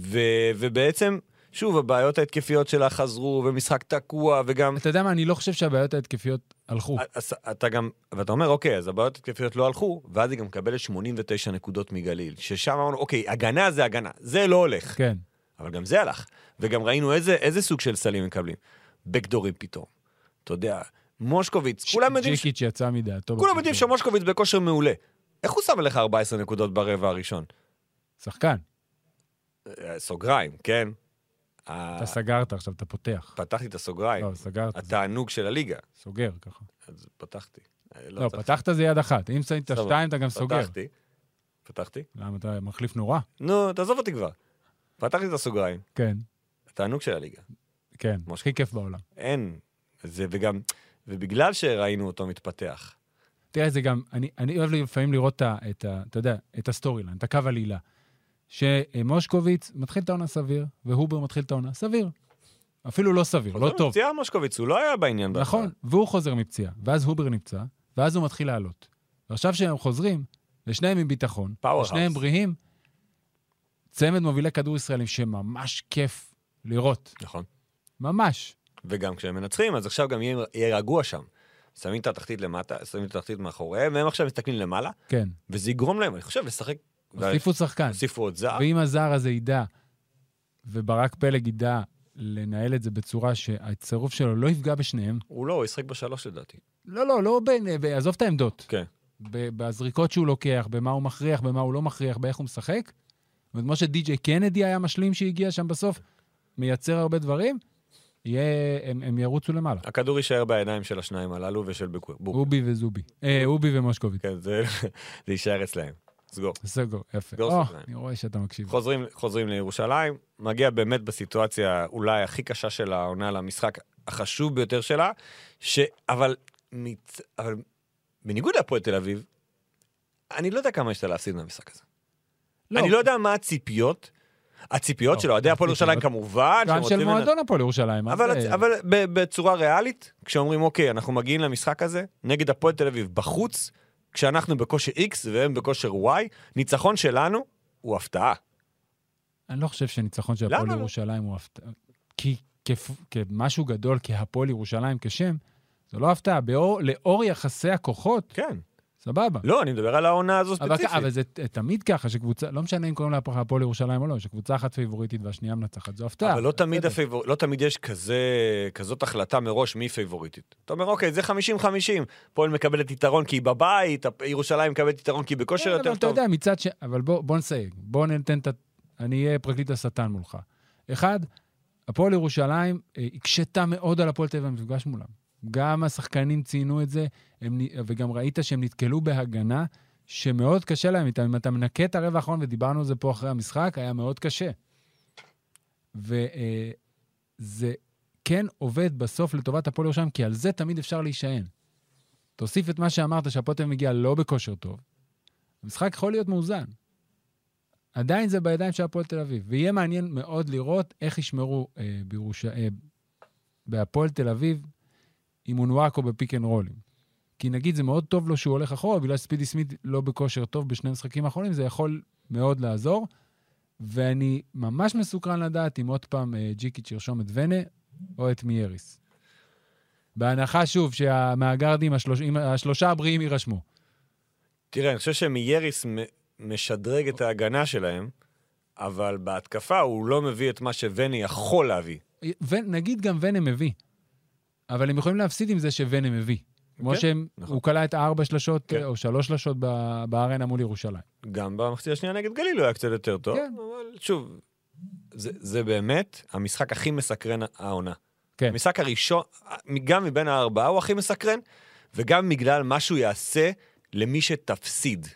ו, ובעצם, שוב, הבעיות ההתקפיות שלה חזרו, ומשחק תקוע, וגם... אתה יודע מה, אני לא חושב שהבעיות ההתקפיות הלכו. אז אתה גם, ואתה אומר, אוקיי, אז הבעיות התקפיות לא הלכו, ואז היא גם מקבלת 89 נקודות מגליל, ששם אמרנו, אוקיי, הגנה זה הגנה, זה לא הולך. כן. אבל גם זה הלך. וגם ראינו איזה, איזה סוג של סלים מקבלים. בקדורים פתאום. אתה יודע, מושקוביץ, כולם יודעים, ש... ג'יקיץ' יצא מדעתו. כולם בפתרון. יודעים שמושקוביץ בכושר מעולה. איך הוא שם עליך 14 נקודות ברבע הראשון? שחקן. אה, סוגריים, כן? אה, אתה סגרת עכשיו, אתה פותח. פתחתי את הסוגריים. לא, סגרת, זה התענוג של הליגה. סוגר ככה. אז פתחתי. אה, לא, צריך- פתחת זה יד אחת. אם שמת סבבה. שתיים, אתה גם סוגר. פתחתי. פתחתי. למה אתה מחליף נורא? נו, תעזוב אותי כבר. פתחתי את הסוגריים. כן, התענוג של הליגה. כן. משה. הכי כיף בעולם. אין. זה וגם... ובגלל שראינו אותו מתפתח. תראה, זה גם, אני, אני אוהב לפעמים לראות את ה- את ה... אתה יודע, את הסטורי ליין, את הקו עלילה. שמושקוביץ מתחיל את העונה סביר, והובר מתחיל את העונה סביר. אפילו לא סביר, לא חוזר טוב. מפציעה מושקוביץ, הוא לא היה בעניין. בהתחלה. נכון, והוא חוזר מפציעה. ואז הובר נפצע, ואז הוא מתחיל לעלות. ועכשיו כשהם חוזרים, ושניהם עם ביטחון, Powerhouse. ושניהם בריאים, צמד מובילי כדור ישראלים שממש כיף לראות, נכון. ממש. וגם כשהם מנצחים, אז עכשיו גם יהיה, יהיה רגוע שם. שמים את התחתית למטה, שמים את התחתית מאחוריהם, והם עכשיו מסתכלים למעלה, כן, וזה יגרום להם, אני חושב, לשחק. הוסיפו שחקן. הוסיפו עוד זר. ואם הזר הזה ידע, וברק פלג ידע לנהל את זה בצורה שהצירוף שלו לא יפגע בשניהם, הוא לא, הוא ישחק בשלוש לדעתי. לא, לא, לא בין, ב- עזוב את העמדות. כן. ב- בזריקות שהוא לוקח, במה הוא מכריח, במה הוא לא מכריח, באיך הוא משחק. זאת אומרת, כמו שדי.ג'יי קנדי היה משלים שהגיע שם בסוף, מייצר הרבה דברים, יהיה, הם, הם ירוצו למעלה. הכדור יישאר בידיים של השניים הללו ושל בוקר. אובי וזובי. אה, אובי ומושקוביץ. כן, זה, זה יישאר אצלהם. סגור. סגור, יפה. גול או, סוגריים. אני רואה שאתה מקשיב. חוזרים, חוזרים לירושלים, מגיע באמת בסיטואציה אולי הכי קשה של העונה למשחק החשוב ביותר שלה, ש... אבל, מת... אבל בניגוד להפועל תל אביב, אני לא יודע כמה יש לה להפסיד מהמשחק הזה. לא. אני לא יודע מה הציפיות, הציפיות לא, של אוהדי הפועל הציפיות. ירושלים כמובן, שהם גם רוצים של לנ- מועדון הפועל ירושלים. אז, אבל, אה, אבל ב- בצורה ריאלית, כשאומרים, אוקיי, אנחנו מגיעים למשחק הזה, נגד הפועל תל אביב בחוץ, כשאנחנו בכושר X והם בכושר Y, ניצחון שלנו הוא הפתעה. אני לא חושב שניצחון של הפועל למה לא? ירושלים הוא הפתעה. כי כפ- כמשהו גדול, כהפועל ירושלים כשם, זו לא הפתעה. באור- לאור יחסי הכוחות, כן. סבבה. לא, אני מדבר על העונה הזו אבל, לא ספציפית. אבל זה ת- תמיד ככה, שקבוצה, לא משנה אם קוראים לה הפועל- הפועל ירושלים או לא, שקבוצה אחת פייבוריטית והשנייה מנצחת, זו הפתעה. אבל לא תמיד, בסדר. הפייבור... לא תמיד יש כזה, כזאת החלטה מראש מי פייבוריטית. אתה אומר, אוקיי, זה 50-50, פועל מקבלת יתרון כי היא בבית, הפ- ירושלים מקבלת יתרון כי היא בכושר כן, יותר אבל אתה טוב. יודע, מצד ש... אבל בוא, בוא נסייג, בוא ניתן את ה... אני אהיה פרקליט השטן מולך. אחד, הפועל ירושלים אה, הקשתה מאוד על הפועל תל אביב במפגש מולם. גם השחקנים ציינו את זה, הם, נ- וגם ראית שהם נתקלו בהגנה שמאוד קשה להם איתם. אם אתה מנקה את הרבע האחרון, ודיברנו על זה פה אחרי המשחק, היה מאוד קשה. וזה כן עובד בסוף לטובת הפועל ירושלים, כי על זה תמיד אפשר להישען. תוסיף את מה שאמרת, שהפועל תל אביב מגיע לא בכושר טוב, המשחק יכול להיות מאוזן. עדיין זה בידיים של הפועל תל אביב, ויהיה מעניין מאוד לראות איך ישמרו אה, בירוש... אה, בהפועל תל אביב עם אונואקו בפיק אנד רולים. כי נגיד זה מאוד טוב לו שהוא הולך אחורה, בגלל שספידי סמית לא בכושר טוב בשני המשחקים האחרונים, זה יכול מאוד לעזור. ואני ממש מסוקרן לדעת אם עוד פעם אה, ג'יקיץ' ירשום את ונה או את מיאריס. בהנחה, שוב, שהמהגרדים, השלוש... אם השלושה הבריאים יירשמו. תראה, אני חושב שמיאריס מ- משדרג את ההגנה שלהם, אבל בהתקפה הוא לא מביא את מה שוני יכול להביא. ו... נגיד גם ונם מביא, אבל הם יכולים להפסיד עם זה שוונם מביא. כמו כן, שהם, נכון. הוא כלה את הארבע שלשות, כן. או שלוש שלשות ב- בארנה מול ירושלים. גם במחצית השנייה נגד גליל הוא היה קצת יותר טוב, כן. אבל שוב, זה, זה באמת המשחק הכי מסקרן העונה. כן. המשחק הראשון, גם מבין הארבעה הוא הכי מסקרן, וגם בגלל מה שהוא יעשה למי שתפסיד.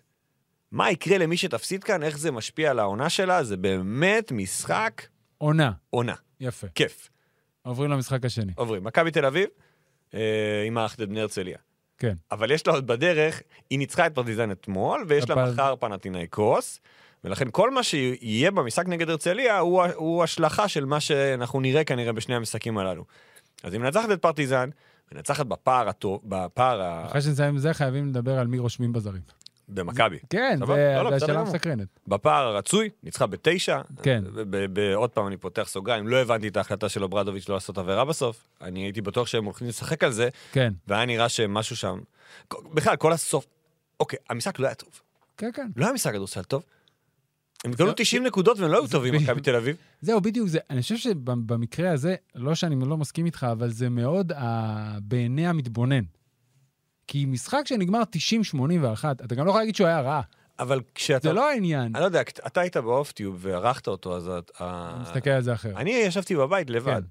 מה יקרה למי שתפסיד כאן, איך זה משפיע על העונה שלה, זה באמת משחק עונה, עונה. יפה. כיף. עוברים למשחק השני. עוברים. מכבי תל אביב, אה, עם מערכת בני הרצליה. כן. אבל יש לה עוד בדרך, היא ניצחה את פרטיזן אתמול, ויש לה הפעם- מחר פנטינאיקוס, ולכן כל מה שיהיה במשחק נגד הרצליה הוא, ה- הוא השלכה של מה שאנחנו נראה כנראה בשני המשחקים הללו. אז היא מנצחת את פרטיזן, מנצחת בפער הטוב, בפער ה... אחרי שנסיים עם זה, חייבים לדבר על מי רושמים בזרים. במכבי. כן, סבבה? זה- לא, לא, זה בסדר השאלה גמור. המסקרנת. בפער הרצוי, ניצחה בתשע. כן. ב- ב- ב- עוד פעם, אני פותח סוגריים, לא הבנתי את ההחלטה של אוברדוביץ' לא לעשות עבירה בסוף. אני הייתי בטוח שהם הולכים לשחק על זה, כן, והיה נראה שמשהו שם... בכלל, כל הסוף... אוקיי, המשחק לא היה טוב. כן, כן. לא היה משחק כדורסל טוב. הם התקבלו זה- 90 נקודות והם לא היו טובים, בדיוק. מכבי תל אביב. זהו, בדיוק זה. אני חושב שבמקרה הזה, לא שאני לא מסכים איתך, אבל זה מאוד ה- בעיני המתבונן. כי משחק שנגמר 90-81, אתה גם לא יכול להגיד שהוא היה רע. אבל כשאתה... זה לא העניין. אני לא יודע, כת- אתה היית באופטיוב וערכת אותו, אז... את- ה- אני מסתכל על זה אחרת. אני ישבתי בבית לבד,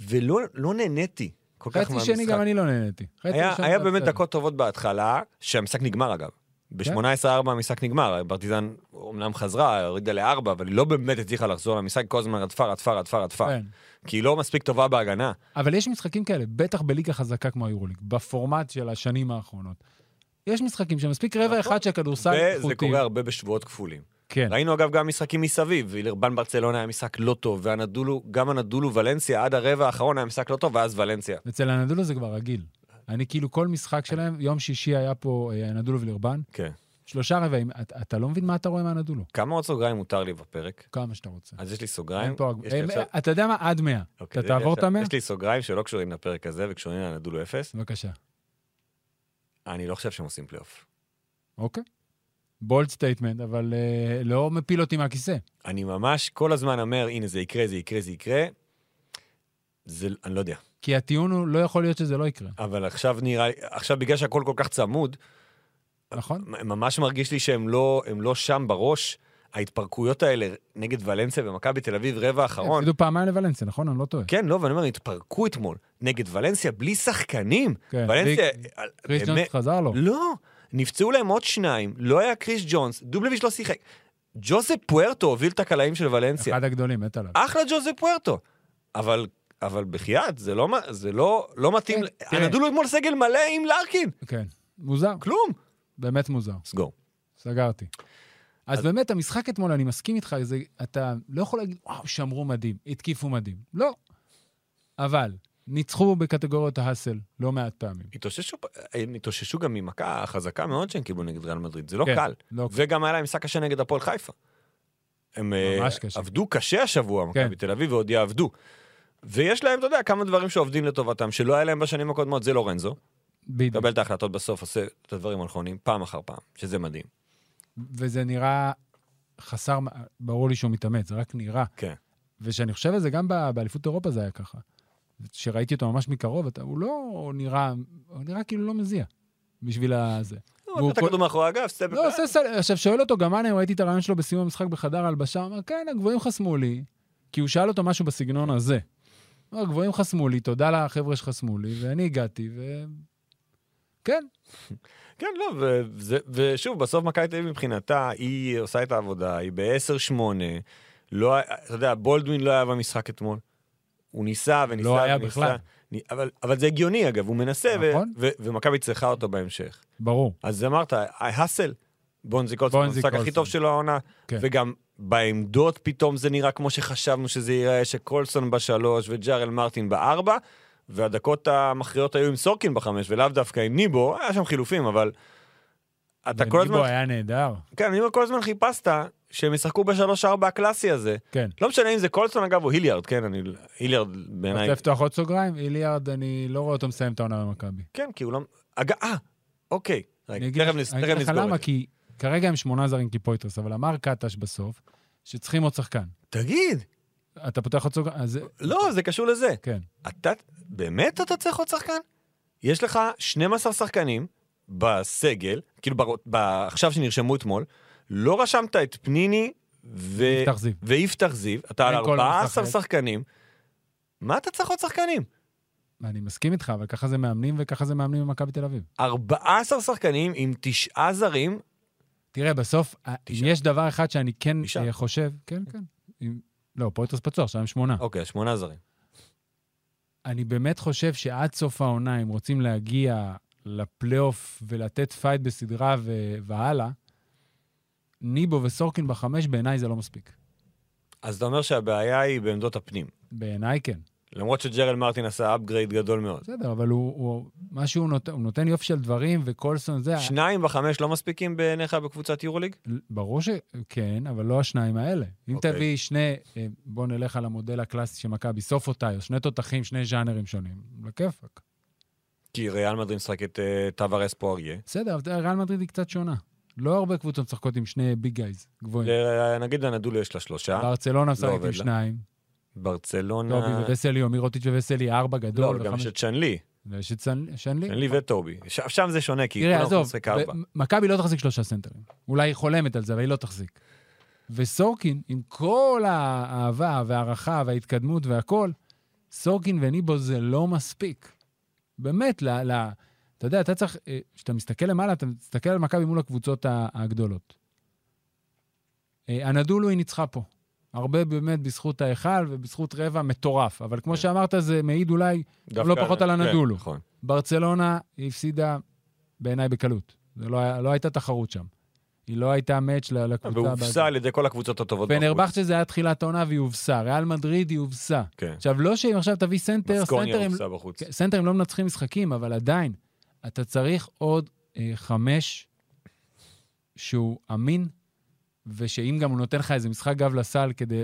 ולא לא נהניתי כל כך כן. חצי שני גם מהמשחק. אני לא נהניתי. חצי היה ראשון היה זה באמת בסדר. דקות טובות בהתחלה, שהמשחק נגמר אגב. ב-18-4 המשחק נגמר, ברטיזן אומנם חזרה, הורידה לארבע, אבל היא לא באמת הצליחה לחזור למשחק, כל הזמן רדפה, רדפה, רדפה, רדפה. כן. כי היא לא מספיק טובה בהגנה. אבל יש משחקים כאלה, בטח בליגה חזקה כמו היורוליג, בפורמט של השנים האחרונות. יש משחקים שמספיק רבע נכון. אחד שהכדורסל וזה איכותי. קורה הרבה בשבועות כפולים. כן, ראינו אגב גם משחקים מסביב, וילרבן ברצלונה היה משחק לא טוב, והנדולו, גם הנדולו ולנסיה עד הרבע האחרון היה משחק לא טוב, ואז ולנסיה. אצל הנדולו זה כבר רגיל. אני כאילו כל משחק שלהם, יום שישי היה פה אה, הנדולו ולירבן, כן. שלושה רבעים, אתה- אתה לא מבין מה אתה רואה מהנדולו, כמה עוד סוגריים מותר לי בפרק? כמה שאתה רוצה. אז יש לי אין סוגריים. פה הגב- יש לי אה, עכשיו- אתה יודע מה? עד 100. אוקיי, אתה יש לי תעבור אה? את עכשיו- ה-100? יש לי סוגריים שלא קשורים לפרק הזה, וקשורים לנדולו אפס. בבקשה. אני לא חושב שהם עושים פלייאוף. אוקיי. בולד סטייטמנט, אבל אה, לא מפיל אותי מהכיסא. אני ממש כל הזמן אומר, הנה, זה יקרה, זה יקרה, זה יקרה. זה, אני לא יודע. כי הטיעון הוא, לא יכול להיות שזה לא יקרה, אבל עכשיו נראה, עכשיו בגלל שהכל כל כך צמוד, נכון? מ- ממש מרגיש לי שהם לא, הם לא שם בראש. ההתפרקויות האלה נגד ולנסיה ומכבי תל אביב, רבע אחרון. הפסידו פעמיים לוולנסיה, נכון? אני לא טועה. כן, לא, ואני אומר, התפרקו אתמול נגד ולנסיה בלי שחקנים. כן, ולנסיה, בלי- אה, קריס ג'ונס באמת- חזר לו. לא, נפצעו להם עוד שניים, לא היה קריס ג'ונס, דובלביץ' לא שיחק. ג'וזפ פוארטו הוביל את הקלעים של ולנסיה. אחד הגדולים, מת עליו. אחלה ג'וזפ פוארטו. אבל, אבל בחייאת, זה לא, מה- זה לא, לא מתאים. כן, ל- תראה. הנדולו אתמול סגל מלא עם לארקין, כן. מוזר, כלום. באמת מוזר. סגור. סגרתי. אז באמת, המשחק אתמול, אני מסכים איתך, זה, אתה לא יכול להגיד, וואו, שמרו מדהים, התקיפו מדהים. לא. אבל, ניצחו בקטגוריות ההאסל לא מעט פעמים. התאוששו, פ- אה, הם התאוששו גם ממכה חזקה מאוד שהם קיבלו נגד ריאל מדריד, זה לא כן, קל. לא קל. וגם היה להם משחק קשה נגד הפועל חיפה. הם אה, ממש קשה. עבדו קשה השבוע, כן. מכבי תל אביב, ועוד יעבדו. ויש להם, אתה יודע, כמה דברים שעובדים לטובתם, שלא היה להם בשנים הקודמות, זה לורנזו. בדיוק. מקבל את ההחלטות בסוף, עושה את הדברים הנכונים, פעם אחר פעם, שזה מדהים. וזה נראה חסר, מ- ברור לי שהוא מתאמץ, זה רק נראה. כן. וכשאני חושב על זה, גם ב- באליפות אירופה זה היה ככה. כשראיתי אותו ממש מקרוב, אתה, הוא לא נראה, הוא נראה כאילו לא מזיע בשביל הזה. והוא הוא כל- הכדור מאחורי הגב, סטפ... לא, עושה סל... עכשיו, שואל אותו גם אנה, ראיתי את הרעיון שלו בסיום המשחק בחדר ההלבשה, הוא אמר, כן, הגבוהים חסמו לי, כי הוא שאל אותו משהו בסגנון הזה. הוא אמר, הגבוהים חסמו לי, תודה לחבר'ה שחסמו לי, ואני הגעתי, ו... כן, כן, לא, ו- וזה- ושוב, בסוף מכבי תל אביב מבחינתה, היא עושה את העבודה, היא ב-10-8, לא, היה- אתה יודע, בולדווין לא היה במשחק אתמול. הוא ניסה וניסה לא היה וניסה. בכלל. נ- אבל, אבל זה הגיוני, אגב, הוא מנסה, ו- נכון. ו- ומכבי צריכה אותו בהמשך. ברור. אז אמרת, האסל, בונזי קולסון, בונזי המשחק הכי קולסון. טוב שלו העונה, כן. וגם בעמדות פתאום זה נראה כמו שחשבנו שזה ייראה, שקולסון בשלוש וג'ארל מרטין בארבע, והדקות המכריעות היו עם סורקין בחמש, ולאו דווקא עם ניבו, היה שם חילופים, אבל... אתה כל הזמן, וניבו היה נהדר, כן, אני אומר, כל הזמן חיפשת שהם ישחקו בשלוש ארבע הקלאסי הזה. כן. לא משנה אם זה קולסון אגב או היליארד, כן, אני... היליארד בעיניי... רוצה לפתוח עוד סוגריים? איליארד, אני לא רואה אותו מסיים את העונה במכבי. כן, כי הוא לא... אגב, אה, אוקיי. רגע, אני אגיד תכף לך- נס- אני תכף אגיד לך נסגור למה, את זה. כי כרגע הם שמונה זרים קיפויטרס, אבל אמר קטש בסוף, שצריכים עוד שחקן. תגיד, אתה פותח עוד סוגריים? אז... לא, זה קשור לזה. כן. אתה, באמת אתה צריך עוד שחקן? יש לך 12 שחקנים בסגל, כאילו בר, ב, עכשיו שנרשמו אתמול, לא רשמת את פניני ו... יפתח זיו. ויפתח זיו, אתה על אין כל 14 משחק. שחקנים. מה אתה צריך עוד שחקנים? אני מסכים איתך, אבל ככה זה מאמנים וככה זה מאמנים במכבי תל אביב. 14 שחקנים עם תשעה זרים, תראה, בסוף, אה, אם תשעה. יש דבר אחד שאני כן תשעה. אה, חושב, כן, כן. אם- לא, פויטרס פצוע, עכשיו הם שמונה. אוקיי, שמונה זרים. אני באמת חושב שעד סוף העונה, אם רוצים להגיע לפלייאוף ולתת פייט בסדרה ו- והלאה, ניבו וסורקין בחמש, בעיניי זה לא מספיק. אז אתה אומר שהבעיה היא בעמדות הפנים. בעיניי כן. למרות שג'רל מרטין עשה אפגרייד גדול מאוד. בסדר, אבל הוא, הוא מה שהוא נותן, הוא נותן יופי של דברים, וקולסון זה... שניים וחמש לא מספיקים בעיניך בקבוצת יורוליג? ברור שכן, אבל לא השניים האלה. אם אוקיי. תביא שני, אה, בוא נלך על המודל הקלאסי של מכבי, סוף אותה, שני תותחים, שני ז'אנרים שונים, לכיפאק. כי ריאל מדריד משחקת uh, טווארס פואריה. בסדר, אבל תראה, ריאל מדריד היא קצת שונה. לא הרבה קבוצות משחקות עם שני ביג גייז גבוהים. ל- נגיד לנדולו יש לה שלושה, ברצלונה משחקת עובד עם לה. שניים, לא. טובי כן, ברצלונה, וווסלי או מירוטיץ' וווסלי, ארבע לא, גדול. אבל גם וחמש- יש את שנלי, ויש את סן- שנלי. שנלי וטובי. ש- שם זה שונה, כי נכון. תראה, כולם עזוב, משחק ארבע. ו- מכבי לא תחזיק שלושה סנטרים. אולי היא חולמת על זה, אבל היא לא תחזיק. וסורקין, עם כל האהבה והערכה וההתקדמות והכול, סורקין וניבו זה לא מספיק. באמת, ל... ל אתה יודע, אתה צריך, אה, כשאתה מסתכל למעלה, אתה מסתכל על מכבי מול הקבוצות ה- הגדולות. אה, הנדולו היא ניצחה פה. הרבה באמת בזכות ההיכל ובזכות רבע מטורף. אבל כן. כמו שאמרת, זה מעיד אולי דווקא- לא פחות על כן, הנדולו. נכון. ברצלונה הפסידה בעיניי בקלות. זה לא, היה- לא הייתה תחרות שם. היא לא הייתה מאץ' ל- לקבוצה. והובסה על ידי כל הקבוצות הטובות. בחוץ. פנרבכצ'ה זה היה תחילת עונה והיא הובסה, ריאל מדריד היא הובסה. כן. עכשיו, לא שאם עכשיו תביא סנטר, בסקוניה סנטרים, הובסה בחוץ. כן, סנטרים לא מנצחים משחקים, אבל עדיין, אתה צריך עוד אה, חמש שהוא אמין, ושאם גם הוא נותן לך איזה משחק גב לסל כדי...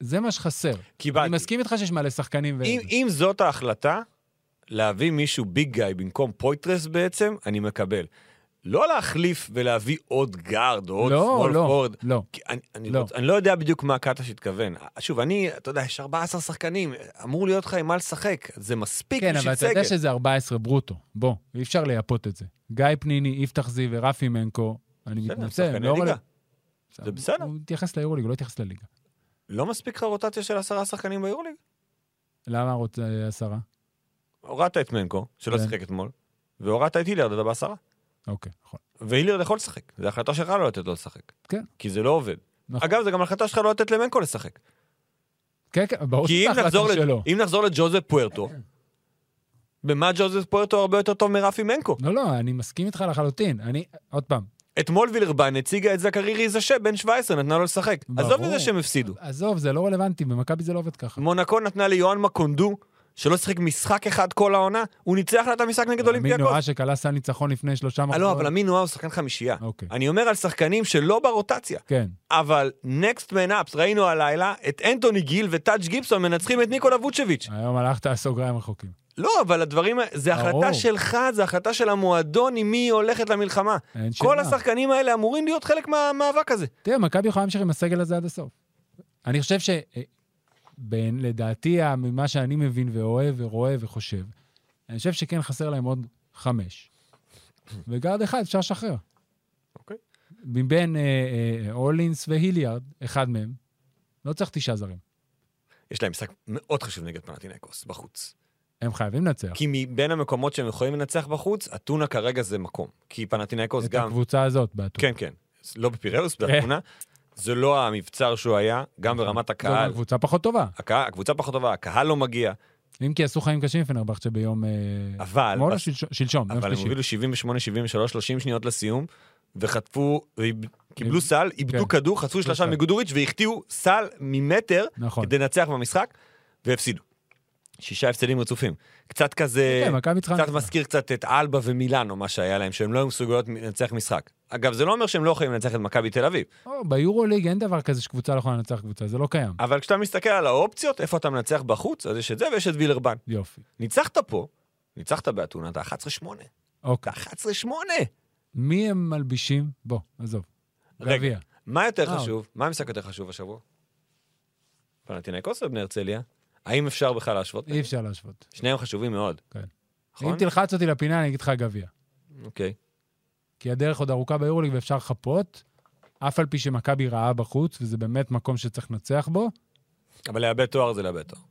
זה מה שחסר. אני קיבלתי. מסכים איתך שיש מלא שחקנים ו... אם, אם זאת ההחלטה, להביא מישהו ביג גיא במקום פויטרס בעצם, אני מקבל. לא להחליף ולהביא עוד גארד או עוד לא, שמאל לא, פורד. לא. כי אני, אני, לא. לא. רוצ, אני לא יודע בדיוק מה קאטה שהתכוון. שוב, אני, אתה יודע, יש 14 שחקנים, אמור להיות לך עם מה לשחק. זה מספיק כן, בשביל אבל אתה סגל. יודע שזה 14 ברוטו. בוא, אי אפשר לייפות את זה. גיא פניני, יפתח זיו ורפי מנקו, אני בסדר, הם מתנצל, הם שחקני לא ליגה. רלוונטיים. זה בסדר. הוא התייחס ליורוליג, הוא לא התייחס לליגה. לא מספיק לך רוטציה של עשרה שחקנים ביורליג? למה רוצה עשרה? הורדת את מנקו, שלא כן. שיחק אתמול, והורדת את היליארד, אתה בעשרה. אוקיי, נכון. והיליארד יכול לשחק, זו החלטה שלך לא לתת לו לשחק. כן. כי זה לא עובד. נכון. אגב, זו גם החלטה שלך לא לתת למנקו לשחק. כן, כן, ברור כי שזה אם החלטה נחזור, שלו. לג... אם נחזור לג'וזף פוארטו, במה ג'וזף פוארטו הרבה יותר טוב מרפי מנקו? לא, לא, אני מסכים איתך לחלוטין. אני, עוד פעם, אתמול וילרבן הציגה את זכרי ריזשה, בן 17, נתנה לו לשחק. ברור. עזוב את זה שהם הפסידו. עזוב, זה לא רלוונטי, במכבי זה לא עובד ככה. מונקו נתנה ליוהאן מקונדו, שלא שיחק משחק אחד כל העונה, הוא ניצח לה את המשחק נגד עמית נורא אולימפיאקוס. שכלה סל ניצחון לפני שלושה אה, מחזורים. לא, אבל אמין נועה הוא שחקן חמישייה. אוקיי, אני אומר על שחקנים שלא ברוטציה, כן. אבל נקסט מן אפס, ראינו הלילה את אנטוני גיל וטאץ' גיבסון מנצחים את ניקולה ווצ'ביץ'. היום הלכת סוגריים רחוקים. לא, אבל הדברים, ה- זה ברור. החלטה שלך, זה החלטה של המועדון עם מי היא הולכת למלחמה. אין שאלה. כל השחקנים האלה אמורים להיות חלק מהמאבק הזה. תראה, מכבי יכולה להמשיך עם הסגל הזה עד הסוף. אני חושב ש... אה, בין, לדעתי, ה- ממה שאני מבין ואוהב ורואה וחושב, אני חושב שכן חסר להם עוד חמש. וגארד אחד אפשר לשחרר. אוקיי. מבין אה, אה, אולינס והיליארד, אחד מהם, לא צריך תשעה זרים. יש להם משחק מאוד חשוב נגד פנטינקוס בחוץ. הם חייבים לנצח. כי מבין המקומות שהם יכולים לנצח בחוץ, אתונה כרגע זה מקום. כי פנטינקוס את גם... הקבוצה הזאת, בעתו. כן, כן. לא בפיראוס, כן. באתונה. זה לא המבצר שהוא היה, גם ברמת זו נכון. גם הקהל. קבוצה פחות טובה. הקהל- הקבוצה פחות טובה, הקהל לא מגיע, אם כי עשו חיים קשים לפנרבכצ'ה ביום... אה, אבל... אתמול או שלשום? שלשום, יום אבל הם שלישי. הובילו 78, 73, 30 שניות לסיום, וחטפו, קיבלו איב- סל, איבדו כן. כדור, חטפו שלושה סל. מגודוריץ' והחטיאו סל ממטר נכון. כדי לנצח במשחק, והפסידו. שישה הפסדים רצופים. קצת כזה, כן, מכבי צריכה קצת לנצח. מזכיר קצת את אלבה ומילאנו, מה שהיה להם, שהם לא היו מסוגלות לנצח משחק. אגב, זה לא אומר שהם לא יכולים לנצח את מכבי תל אביב, או, ביורוליג אין דבר כזה שקבוצה לא יכולה לנצח קבוצה, זה לא קיים. אבל כשאתה מסתכל על האופציות, איפה אתה מנצח בחוץ, אז יש את זה ויש את וילרבן. יופי. ניצחת פה, ניצחת באתונה, אתה 11-8. אתה אוקיי. 11-8! מי הם מלבישים? בוא, עזוב. רגע. גביע. מה יותר אה, חשוב? מה המשחק יותר חשוב השבוע? פנטינאיקוס ובני הרצליה? האם אפשר בכלל להשוות? אי אפשר להשוות. שניהם חשובים מאוד. כן. אם נכון? תלחץ אותי לפינה, אני אגיד לך גביע. אוקיי. כי הדרך עוד ארוכה ביורוליג ואפשר לחפות, אף על פי שמכבי רעה בחוץ, וזה באמת מקום שצריך לנצח בו. אבל לאבד תואר זה לאבד תואר.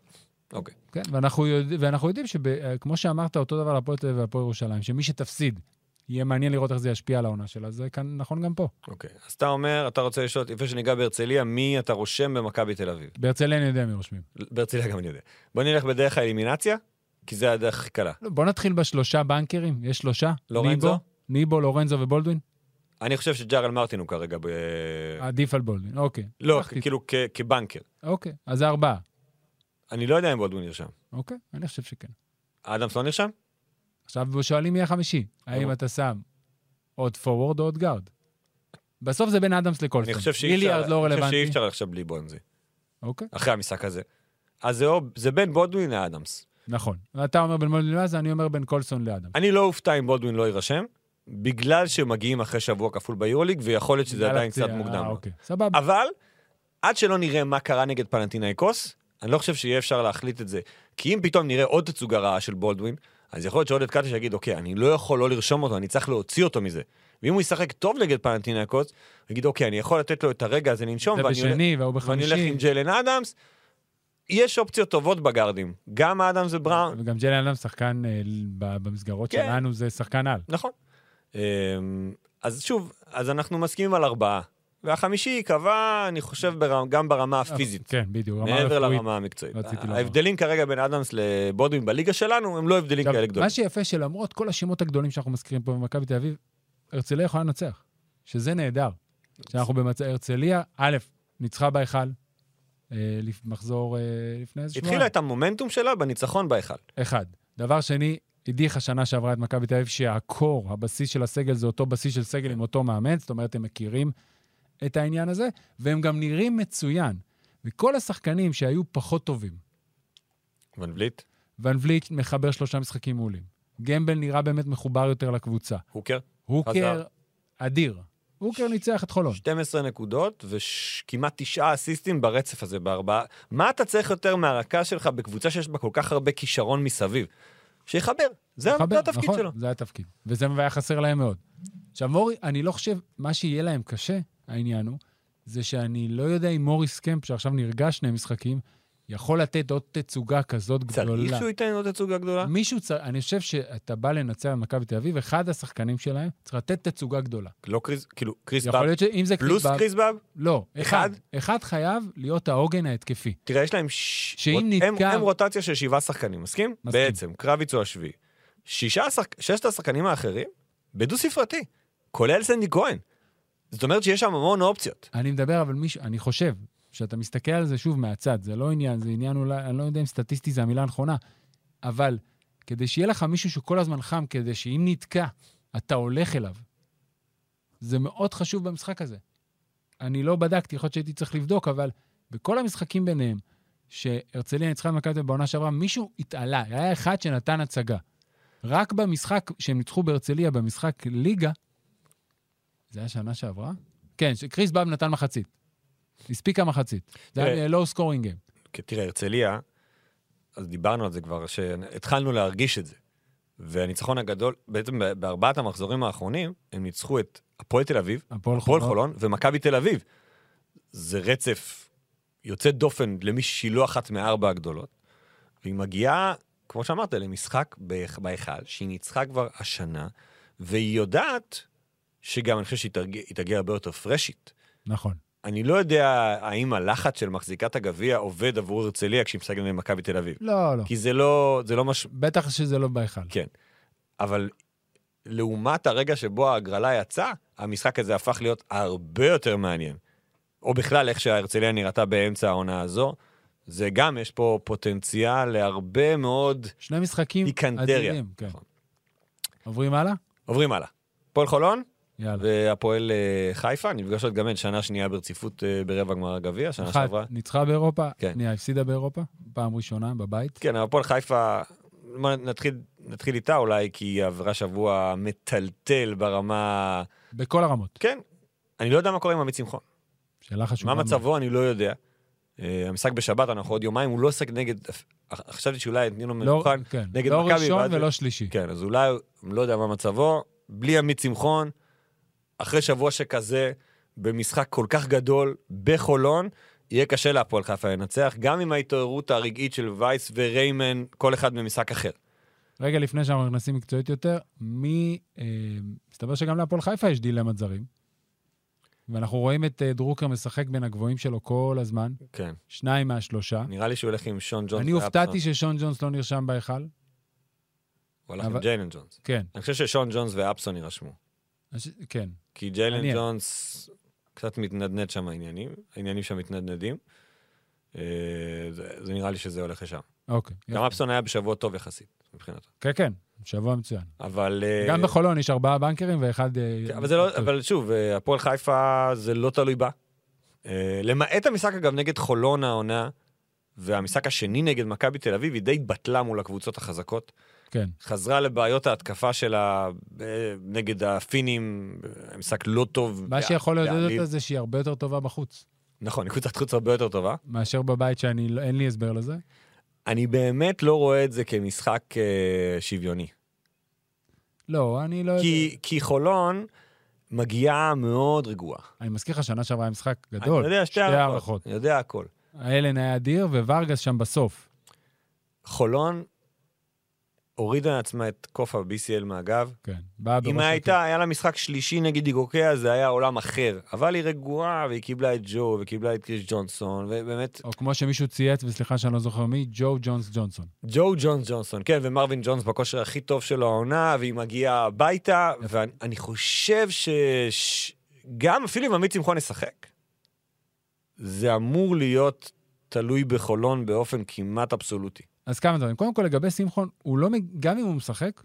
אוקיי. כן, ואנחנו, יודע, ואנחנו יודעים שכמו שאמרת, אותו דבר להפועל תל אביב והפועל ירושלים, שמי שתפסיד, יהיה מעניין לראות איך זה ישפיע על העונה שלה, זה כאן, נכון גם פה. אוקיי. אז אתה אומר, אתה רוצה לשאול, לפני שניגע בהרצליה, מי אתה רושם במכבי תל אביב? בהרצליה אני יודע מי רושמים. בהרצליה גם אני יודע. בוא נלך בדרך האלימינציה, כי זה הדרך הכי קלה. לא, בוא נתחיל בשלושה בנקרים, יש שלושה? לורנזו? ניבו, ניבו, לורנזו ובולדווין? אני חושב שג'ארל מרטין הוא כרגע ב... כן. עדיף על בולדווין, אוקיי. לא, לקחתי. כאילו כ- כבנקר. אוקיי, אז זה ארבעה. אני לא יודע אם בולדווין נרשם. אוקיי, אני חושב שכן. אדמס לא נרשם? עכשיו שואלים מי החמישי, האם ברור. אתה שם עוד פורוורד או עוד גארד? בסוף זה בין אדמס לקולסון. אני חושב שאי איליארד אפשר- לא אני חושב שאי רלוונטי. אפשר עכשיו בלי בונזי. אוקיי, אחרי המשחק הזה. אז זה, או, זה בין בולדווין לאדמס. נכון. אתה אומר בין מולדווין לאז, אני אומר בין קולסון לאדמס. אני לא אופתע אם בולדווין לא יירשם, בגלל שמגיעים אחרי שבוע כפול ביורוליג, ויכול להיות שזה בגלל עדיין הפציעה, קצת מוקדם. אה, אוקיי, סבבה. אבל עד שלא נראה מה קרה נגד פלנטינאיקוס, אני לא חושב שיהיה אפשר להחליט את זה. כי אם פתאום נראה עוד תצוגה רעה של בולדווין, אז יכול להיות שעודד קטש יגיד, אוקיי, אני לא יכול לא לרשום אותו, אני צריך להוציא אותו מזה. ואם הוא ישחק טוב נגד פלנטינאיקוס, הוא יגיד, אוקיי, אני יכול לתת לו את הרגע הזה לנשום, זה ואני הולך- בשני והוא ואני הולך עם בחמישי. ג'לן אדמס. יש אופציות טובות בגארדים, גם אדמס ובראון, וגם ג'לי אלם שחקן אה, ל- ב- במסגרות כן. שלנו, זה שחקן על. נכון. אמ, אז שוב, אז אנחנו מסכימים על ארבעה. והחמישי ייקבע, אני חושב, ברמה, גם ברמה הפיזית, כן, בדיוק. רמה מעבר רפואית. לרמה המקצועית. רציתי לומר. ההבדלים כרגע בין אדמס לבודווין בליגה שלנו הם לא הבדלים עכשיו, כאלה גדולים. מה שיפה שלמרות כל השמות הגדולים שאנחנו מזכירים פה במכבי תל אביב, הרצליה יכולה לנצח, שזה נהדר. שאנחנו במצב הרצליה, א', ניצחה בהיכל, אה, לפ- מחזור אה, לפני איזה שבועיים. התחילה את המומנטום שלה בניצחון בהיכל. אחד. דבר שני, הדיחה שנה שעברה את מכבי תל אביב שהקור, הבסיס של הסגל זה אותו בסיס של סגל עם אותו מאמן, זאת אומרת, הם מכירים את העניין הזה, והם גם נראים מצוין. וכל השחקנים שהיו פחות טובים, ון בליט, ון וליק מחבר שלושה משחקים מעולים, גמבל נראה באמת מחובר יותר לקבוצה, הוקר, הוקר חזר. אדיר, הוקר ניצח את חולון. 12 נקודות וכמעט תשעה אסיסטים ברצף הזה בארבעה. מה אתה צריך יותר מהרכה שלך בקבוצה שיש בה כל כך הרבה כישרון מסביב? שיחבר, זה זה מחבר, התפקיד נכון, שלו. זה התפקיד, וזה היה חסר להם מאוד. עכשיו, מורי, אני לא חושב, מה שיהיה להם קשה, העניין הוא, זה שאני לא יודע אם מוריס קמפ, שעכשיו נרגע שני משחקים, יכול לתת עוד תצוגה כזאת צריך גדולה. שהוא ייתן עוד תצוגה גדולה? מישהו צריך, אני חושב שאתה בא לנצח את מכבי תל אביב, אחד השחקנים שלהם צריך לתת תצוגה גדולה. לא קריס, כאילו, קריס יכול באב, להיות שאם זה פלוס קליפ- קריס באב? לא, אחד. אחד? אחד חייב להיות העוגן ההתקפי. תראה, יש להם... ש- שאם רוט- נתקע- הם, הם רוטציה של שבעה שחקנים, מסכים? מסכים. בעצם, קרביץ הוא השביעי. שישה, השחק- ששת השחקנים האחרים, בדו-ספרתי, כולל סנדי כהן. זאת אומרת שיש שם המון אופציות. אני מדבר, אבל מישהו, אני חושב, שאתה מסתכל על זה שוב מהצד, זה לא עניין, זה עניין אולי, אני לא יודע אם סטטיסטי זה המילה הנכונה, אבל כדי שיהיה לך מישהו שכל הזמן חם, כדי שאם נתקע, אתה הולך אליו, זה מאוד חשוב במשחק הזה. אני לא בדקתי, יכול להיות שהייתי צריך לבדוק, אבל בכל המשחקים ביניהם, שהרצליה ניצחה את מכבי תל אביב בעונה שעברה, מישהו התעלה, היה אחד שנתן הצגה. רק במשחק שהם ניצחו בהרצליה, במשחק ליגה, זה היה שנה שעברה? כן, שקריס באב נתן מחצית. הספיקה מחצית. זה היה תראה. לואו סקורינג גיים. כי תראה, הרצליה, אז דיברנו על זה כבר, שהתחלנו להרגיש את זה. והניצחון הגדול, בעצם ב- בארבעת המחזורים האחרונים, הם ניצחו את הפועל תל אביב, הפועל הפועל חולון. חולון ומכבי תל אביב. זה רצף יוצא דופן למי שהיא לא אחת מארבע הגדולות. והיא מגיעה, כמו שאמרת, למשחק בהיכ- בהיכל, שהיא ניצחה כבר השנה, והיא יודעת שגם אני חושב שהיא תרג- היא תגיע הרבה יותר פרשית. נכון. אני לא יודע האם הלחץ של מחזיקת הגביע עובד עבור הרצליה כשהיא משחקת במכבי תל אביב. לא, לא. כי זה לא, זה לא מש... בטח שזה לא בהיכל. כן. אבל לעומת הרגע שבו ההגרלה יצאה, המשחק הזה הפך להיות הרבה יותר מעניין. או בכלל, איך שההרצליה נראתה באמצע העונה הזו, זה גם, יש פה פוטנציאל להרבה מאוד... שני משחקים פיקנטריה. אדירים. כן. נכון. עוברים הלאה? עוברים הלאה. הפועל חולון יאללה. והפועל אה, חיפה נפגשות גם הן שנה שנייה ברציפות אה, ברבע גמר הגביע, שנה אחת, שעברה. ניצחה באירופה, כן. שנייה, הפסידה באירופה, פעם ראשונה בבית. כן, אבל הפועל חיפה, מה, נתחיל, נתחיל איתה אולי, כי היא עברה שבוע מטלטל ברמה... בכל הרמות. כן, אני לא יודע מה קורה עם עמית שמחון. שאלה חשובה. מה מאוד. מצבו, אני לא יודע. אה, המשחק בשבת, אנחנו עוד יומיים, הוא לא שחק נגד... חשבתי שאולי יתנו לו לא, מנוחן. כן. נגד לא מכבי, ראשון ואז- ולא שלישי. כן, אז אולי, לא יודע מה מצבו, בלי עמית שמחון, אחרי שבוע שכזה, במשחק כל כך גדול, בחולון, יהיה קשה להפועל חיפה לנצח, גם עם ההתעוררות הרגעית של וייס וריימן, כל אחד במשחק אחר. רגע לפני שאנחנו נכנסים מקצועית יותר, מי... אה, מסתבר שגם להפועל חיפה יש דילמת זרים. ואנחנו רואים את אה, דרוקר משחק בין הגבוהים שלו כל הזמן, כן. שניים מהשלושה. נראה לי שהוא הולך עם שון ג'ונס. אני לאפסון. הופתעתי ששון ג'ונס לא נרשם בהיכל. הוא הלך עם אבל- ג'יילן ג'ונס. כן, אני חושב ששון ג'ונס ואפסון יירשמו. אז- כן. כי ג'יילן מעניין. ג'ונס קצת מתנדנד שם העניינים, העניינים שם מתנדנדים. אה, זה זה נראה לי שזה הולך לשם. אוקיי. יפה. גם אפסון היה בשבוע טוב יחסית, מבחינתו. כן, כן, שבוע מצוין. אבל... אה, גם בחולון יש ארבעה בנקרים ואחד... אה, כן, אבל זה לא, אבל שוב, אה, הפועל חיפה זה לא תלוי בה. אה, למעט המשחק, אגב, נגד חולון העונה, והמשחק השני נגד מכבי תל אביב, היא די בטלה מול הקבוצות החזקות. כן. חזרה לבעיות ההתקפה שלה אה, נגד הפינים, אה, משחק לא טוב. מה שיכול לעודד להעליב. אותה זה שהיא הרבה יותר טובה בחוץ, נכון, היא קבוצת חוץ הרבה יותר טובה. מאשר בבית שאני... לא- אין לי הסבר לזה. אני באמת לא רואה את זה כמשחק אה, שוויוני. לא, אני לא יודע. כי, כי חולון מגיעה מאוד רגועה. אני מזכיר לך, שנה שעברה היה משחק אני גדול. יודע שתי שתי הערכות. אני יודע הכל. האלן היה אדיר וורגס שם בסוף. חולון הורידה לעצמה את קוף ה-BCL מהגב. כן. באה בראש אם שקט. הייתה, היה לה משחק שלישי נגד איגוקיה, זה היה עולם אחר. אבל היא רגועה, והיא קיבלה את ג'ו, וקיבלה את קריס ג'ונסון, ובאמת, או כמו שמישהו צייץ, וסליחה שאני לא זוכר מי, ג'ו ג'ונס ג'ונסון. ג'ו ג'ונס ג'ונסון, כן, ומרווין ג'ונס בכושר הכי טוב שלו העונה, והיא מגיעה הביתה, ואני אני חושב ש... ש- גם אפילו אם עמית שמחון ישחק, זה אמור להיות תלוי בחולון באופן כמעט אבסולוטי. אז כמה דברים. קודם כל, לגבי שמחון, הוא לא, מג- גם אם הוא משחק,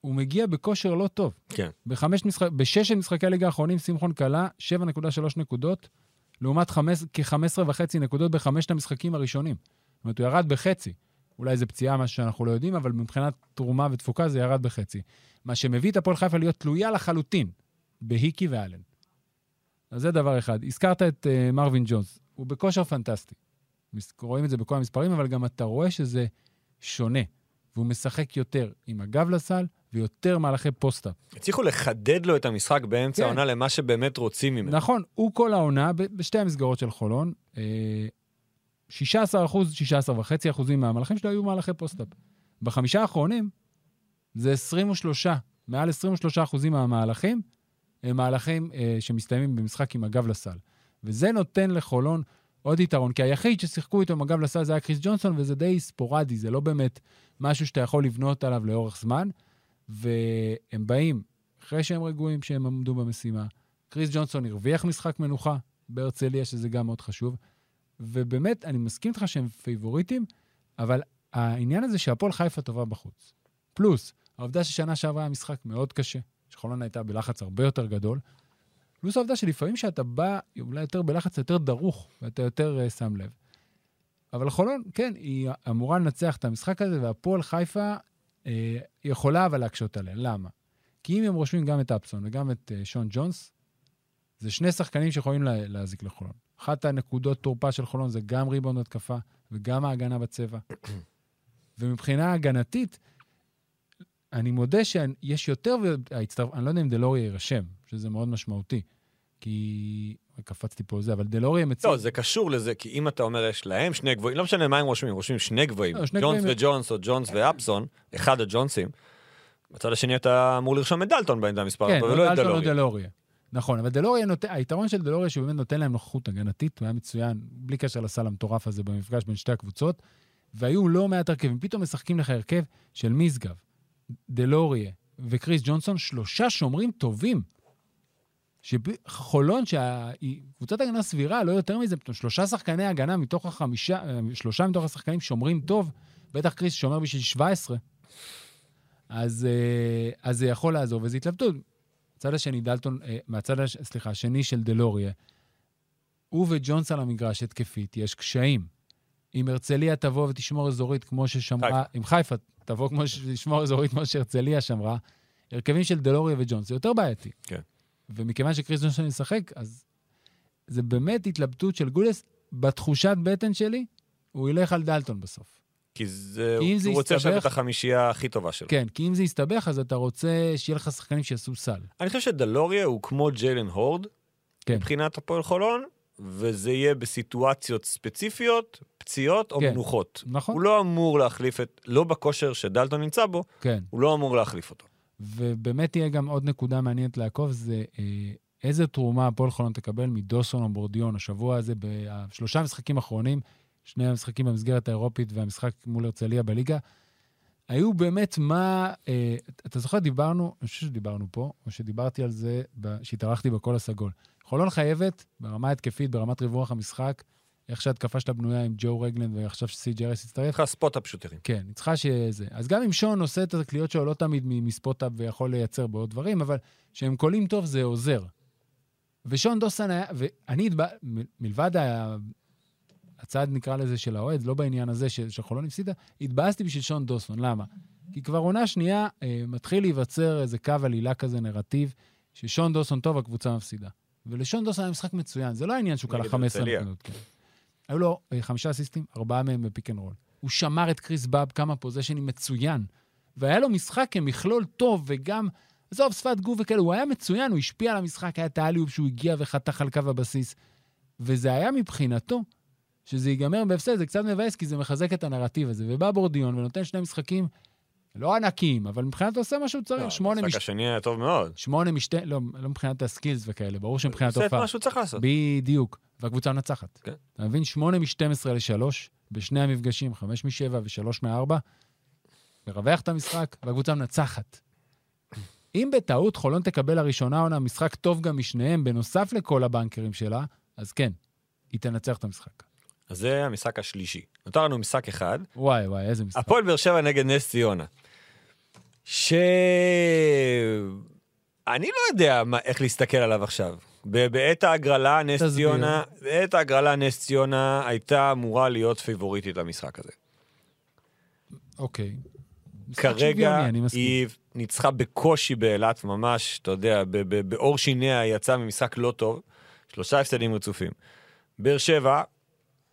הוא מגיע בכושר לא טוב. כן. בחמש משחק, בשש של משחקי הליגה האחרונים, שמחון כלה 7.3 נקודות, לעומת חמש- כ-15.5 נקודות בחמשת המשחקים הראשונים. זאת אומרת, הוא ירד בחצי. אולי זה פציעה, משהו שאנחנו לא יודעים, אבל מבחינת תרומה ותפוקה זה ירד בחצי. מה שמביא את הפועל חיפה להיות תלויה לחלוטין בהיקי ואלן. אז זה דבר אחד. הזכרת את uh, מרווין ג'ונס, הוא בכושר פנטסטי. מס- רואים את זה בכל המספרים, אבל גם אתה רואה שזה שונה, והוא משחק יותר עם הגב לסל ויותר מהלכי פוסט-אפ. הצליחו לחדד לו את המשחק באמצע כן. העונה למה שבאמת רוצים ממנו. נכון, הוא כל העונה, ב- בשתי המסגרות של חולון, אה, 16 אחוז, 16 וחצי אחוזים מהמהלכים שלו היו מהלכי פוסט-אפ. בחמישה האחרונים, זה 23, מעל 23 אחוזים מהמהלכים, הם מהלכים אה, שמסתיימים במשחק עם הגב לסל. וזה נותן לחולון עוד יתרון, כי היחיד ששיחקו איתו עם הגב לסל זה היה קריס ג'ונסון, וזה די ספורדי, זה לא באמת משהו שאתה יכול לבנות עליו לאורך זמן. והם באים, אחרי שהם רגועים שהם עמדו במשימה, קריס ג'ונסון הרוויח משחק מנוחה בהרצליה, שזה גם מאוד חשוב. ובאמת, אני מסכים איתך שהם פייבוריטים, אבל העניין הזה שהפועל חיפה טובה בחוץ. פלוס, העובדה ששנה שעברה היה משחק מאוד קשה, שחולון הייתה בלחץ הרבה יותר גדול, פלוס העובדה שלפעמים שאתה בא אולי יותר בלחץ, אתה יותר דרוך, ואתה יותר uh, שם לב. אבל חולון, כן, היא אמורה לנצח את המשחק הזה, והפועל חיפה אה, יכולה אבל להקשות עליה. למה? כי אם הם רושמים גם את אפסון וגם את אה, שון ג'ונס, זה שני שחקנים שיכולים לה, להזיק לחולון. אחת הנקודות תורפה של חולון זה גם ריבון התקפה וגם ההגנה בצבע. ומבחינה הגנתית, אני מודה שיש יותר, וההצטרפ... אני לא יודע אם דלוריה יירשם, שזה מאוד משמעותי, כי... קפצתי פה זה, אבל דלוריה מציג... לא, זה קשור לזה, כי אם אתה אומר, יש להם שני גבוהים, לא משנה מה הם רושמים, הם רושמים שני גבוהים, לא, שני ג'ונס גבוהים- וג'ונס או ג'ונס ואפסון, אחד הג'ונסים. בצד השני אתה אמור לרשום את דלטון בעמדה מספר, כן, אבל לא את אלטון או דלורי. דלוריה. נכון, אבל דלוריה נותן, היתרון של דלוריה שהוא באמת נותן להם נוכחות הגנתית, הוא היה מצוין, בלי קשר לסל המטורף הזה במפגש בין שתי הקבוצות, והיו לא מעט הרכבים. פתאום משחקים לך הרכב של משגב, דלוריה וקריס ג'ונסון, שלושה שומרים טובים. שחולון, שהיא קבוצת הגנה סבירה, לא יותר מזה, פתאום שלושה שחקני הגנה מתוך החמישה, אה, שלושה מתוך השחקנים שומרים טוב, בטח קריס שומר בשביל 17, אז, אה, אז זה יכול לעזור, וזו התלבטות. הצד השני, דלטון, אה, מהצד, הש... סליחה, השני של דלוריה, הוא וג'ונס על המגרש התקפית, יש קשיים. אם הרצליה תבוא ותשמור אזורית כמו ששמרה, חיפה. אם חיפה תבוא כמו שתשמור אזורית כמו שהרצליה שמרה, הרכבים של דלוריה וג'ונס זה יותר בעייתי. כן. ומכיוון שקריס ג'ונסון ישחק, אז זה באמת התלבטות של גולס. בתחושת בטן שלי, הוא ילך על דלטון בסוף. כי זה- כי אם הוא זה הוא רוצה עכשיו יסתבך- את החמישייה הכי טובה שלו. כן, כי אם זה יסתבך, אז אתה רוצה שיהיה לך שחקנים שיעשו סל. אני חושב שדלוריה הוא כמו ג'יילן הורד, כן. מבחינת הפועל חולון, וזה יהיה בסיטואציות ספציפיות, פציעות או כן. מנוחות. נכון? הוא לא אמור להחליף את, לא בכושר שדלטון נמצא בו, כן. הוא לא אמור להחליף אותו. ובאמת תהיה גם עוד נקודה מעניינת לעקוב, זה אה, איזה תרומה הפועל חולון תקבל מדוסון אבורדיון השבוע הזה, בשלושה המשחקים האחרונים, שני המשחקים במסגרת האירופית והמשחק מול הרצליה בליגה, היו באמת מה... אה, אתה זוכר, דיברנו, אני חושב שדיברנו פה, או שדיברתי על זה ב- שהתארחתי בקול הסגול. חולון חייבת, ברמה התקפית, ברמת ריווח המשחק, איך שההתקפה שלה בנויה עם ג'ו רגלנד ועכשיו שסי ג'רס יש יצטרף, לך ספוט-אפ שוטרים. כן, היא צריכה שזה. אז גם אם שון עושה את הקליעות שלו לא תמיד מ- מספוטאפ ויכול לייצר בעוד דברים, אבל כשהם קולים טוב זה עוזר. ושון דוסן היה, ואני, התבא- מ- מלבד ה- הצד נקרא לזה של האוהד, לא בעניין הזה ש- שחולון הפסידה, התבאסתי בשביל שון דוסון. למה? כי כבר עונה שנייה אה, מתחיל להיווצר איזה קו עלילה כזה, נרטיב, ששון דוסון טוב, הקבוצה מפסידה. ולשון דוסון היה משחק מצוין, זה לא העניין שהוא נגד כלה 15 הרצליה. נקודות. כן. היו לו אה, חמישה אסיסטים, ארבעה מהם בפיק אנד רול. הוא שמר את קריס באב כמה פוזיישנים מצוין, והיה לו משחק כמכלול טוב, וגם, עזוב, שפת גוף וכאלה, הוא היה מצוין, הוא השפיע על המשחק, היה את האליוב שהוא הגיע וחתך על קו הבסיס. וזה היה מבחינתו, שזה ייגמר בהפסד, זה קצת מבאס, כי זה מחזק את הנרטיב הזה. ובא בורדיון ונותן שני משחקים לא ענקיים, אבל מבחינתו עושה מה שהוא לא, צריך, אה, שמונה המשחק מש- השני היה טוב מאוד. שמונה משתי, לא, לא מבחינת הסקילס וכאלה, ברור שמבחינת עושה את הופעה. מה שהוא צריך לעשות. בדיוק, והקבוצה מנצחת. כן. אתה מבין? 8 מ-12 ל-3, בשני המפגשים, 5 מ-7 ו-3 מ-4, מרווח את המשחק, והקבוצה מנצחת. אם בטעות חולון תקבל לראשונה עונה משחק טוב גם משניהם, בנוסף לכל הבנקרים שלה, אז כן, היא תנצח את המשחק. אז זה המשחק השלישי. נותר לנו משחק אחד, וואי וואי, איזה משחק. הפועל באר שבע נגד נס ציונה. ש... אני לא יודע מה, איך להסתכל עליו עכשיו. ב- בעת ההגרלה, נס תסביר. ציונה, בעת ההגרלה, נס ציונה הייתה אמורה להיות פייבוריטית למשחק הזה. אוקיי. משחק כרגע שוויוני, אני מסכים. היא ניצחה בקושי באילת ממש, אתה יודע, ב- ב- בעור שיניה היא יצאה ממשחק לא טוב, שלושה הפסדים רצופים. באר שבע,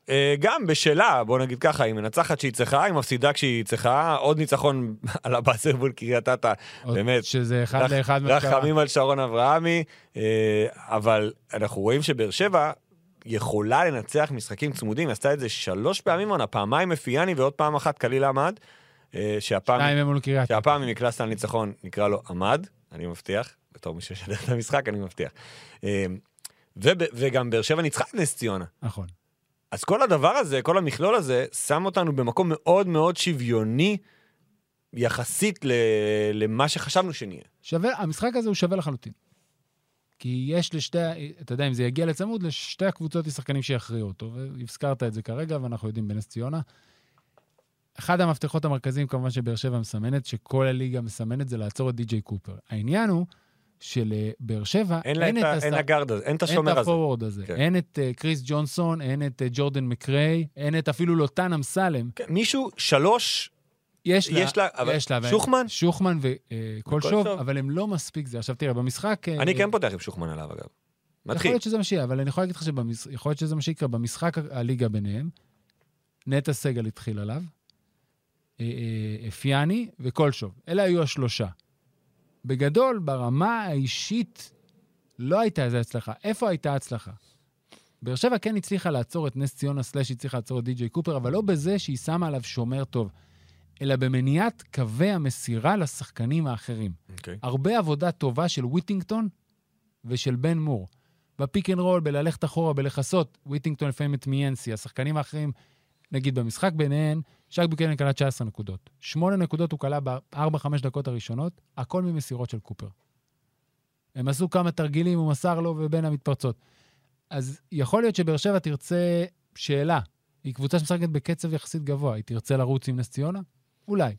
אה, גם בשלה, בוא נגיד ככה, היא מנצחת כשהיא צריכה, היא מפסידה כשהיא צריכה, עוד ניצחון על הבאסר מול קריית אתא, עוד באמת, שזה אחד רח- לאחד מה שקרה. רחמים על שרון אברהמי, אה, אבל אנחנו רואים שבאר שבע יכולה לנצח משחקים צמודים, היא עשתה את זה שלוש פעמים עונה, פעמיים מפיאני ועוד פעם אחת קליל עמד, אה, שהפעם... שניים הם מול קריית. שהפעם אם יקלסת על ניצחון, נקרא לו עמד, אני מבטיח, בתור מי ששדר את המשחק, אני מבטיח. אה, וב- וגם באר שבע ניצחה את נס ציונה. נכון. אז כל הדבר הזה, כל המכלול הזה, שם אותנו במקום מאוד מאוד שוויוני, יחסית ל- למה שחשבנו שנהיה. שווה, המשחק הזה הוא שווה לחלוטין. כי יש לשתי, אתה יודע, אם זה יגיע לצמוד, לשתי הקבוצות יש שחקנים שיכריעו אותו, והזכרת את זה כרגע, ואנחנו יודעים בנס ציונה. אחד המפתחות המרכזיים, כמובן, שבאר שבע מסמנת, שכל הליגה מסמנת, זה לעצור את די.ג'יי קופר. העניין הוא שלבאר שבע אין לה את ה- אין השח- הגארד הזה, אין את אין את השומר הזה. הפורוורד הזה. כן. אין את אה, קריס ג'ונסון, אין את אה, ג'ורדן מקריי, אין את אפילו לוטן אמסלם. כן, מישהו, שלוש, יש לה, יש לה, אבל יש לה, אבל- שוחמן? שוחמן וקולשוב, וקולשוב. אבל הם לא מספיק זה. עכשיו תראה, במשחק... אה, אני כן פותח עם שוחמן עליו אגב. יכול מתחיל. להיות שזה מה שיהיה, אבל אני יכול להגיד לך שיכול להיות שזה מה שיקרה. במשחק ה- הליגה ביניהם, נטע סגל התחיל עליו, אה, אה, אפיאני וקולשוב. אלה היו השלושה. בגדול, ברמה האישית, לא הייתה איזו הצלחה. איפה הייתה הצלחה? באר שבע כן הצליחה לעצור את נס ציונה, סלאש הצליחה לעצור את די.ג'יי קופר, אבל לא בזה שהיא שמה עליו שומר טוב, אלא במניעת קווי המסירה לשחקנים האחרים. אוקיי. הרבה עבודה טובה של וויטינגטון ושל בן מור. בפיק אנד רול, בללכת אחורה, בלכסות, וויטינגטון לפעמים את מיאנסי, השחקנים האחרים, נגיד במשחק ביניהן, שק בוקנן קלע 19 נקודות. 8 נקודות הוא קלע ב-4-5 דקות הראשונות, הכל ממסירות של קופר. הם עשו כמה תרגילים, הוא מסר לו ובין המתפרצות. אז יכול להיות שבאר שבע תרצה שאלה. היא קבוצה שמשחקת בקצב יחסית גבוה, היא תרצה לרוץ עם נס ציונה? אולי.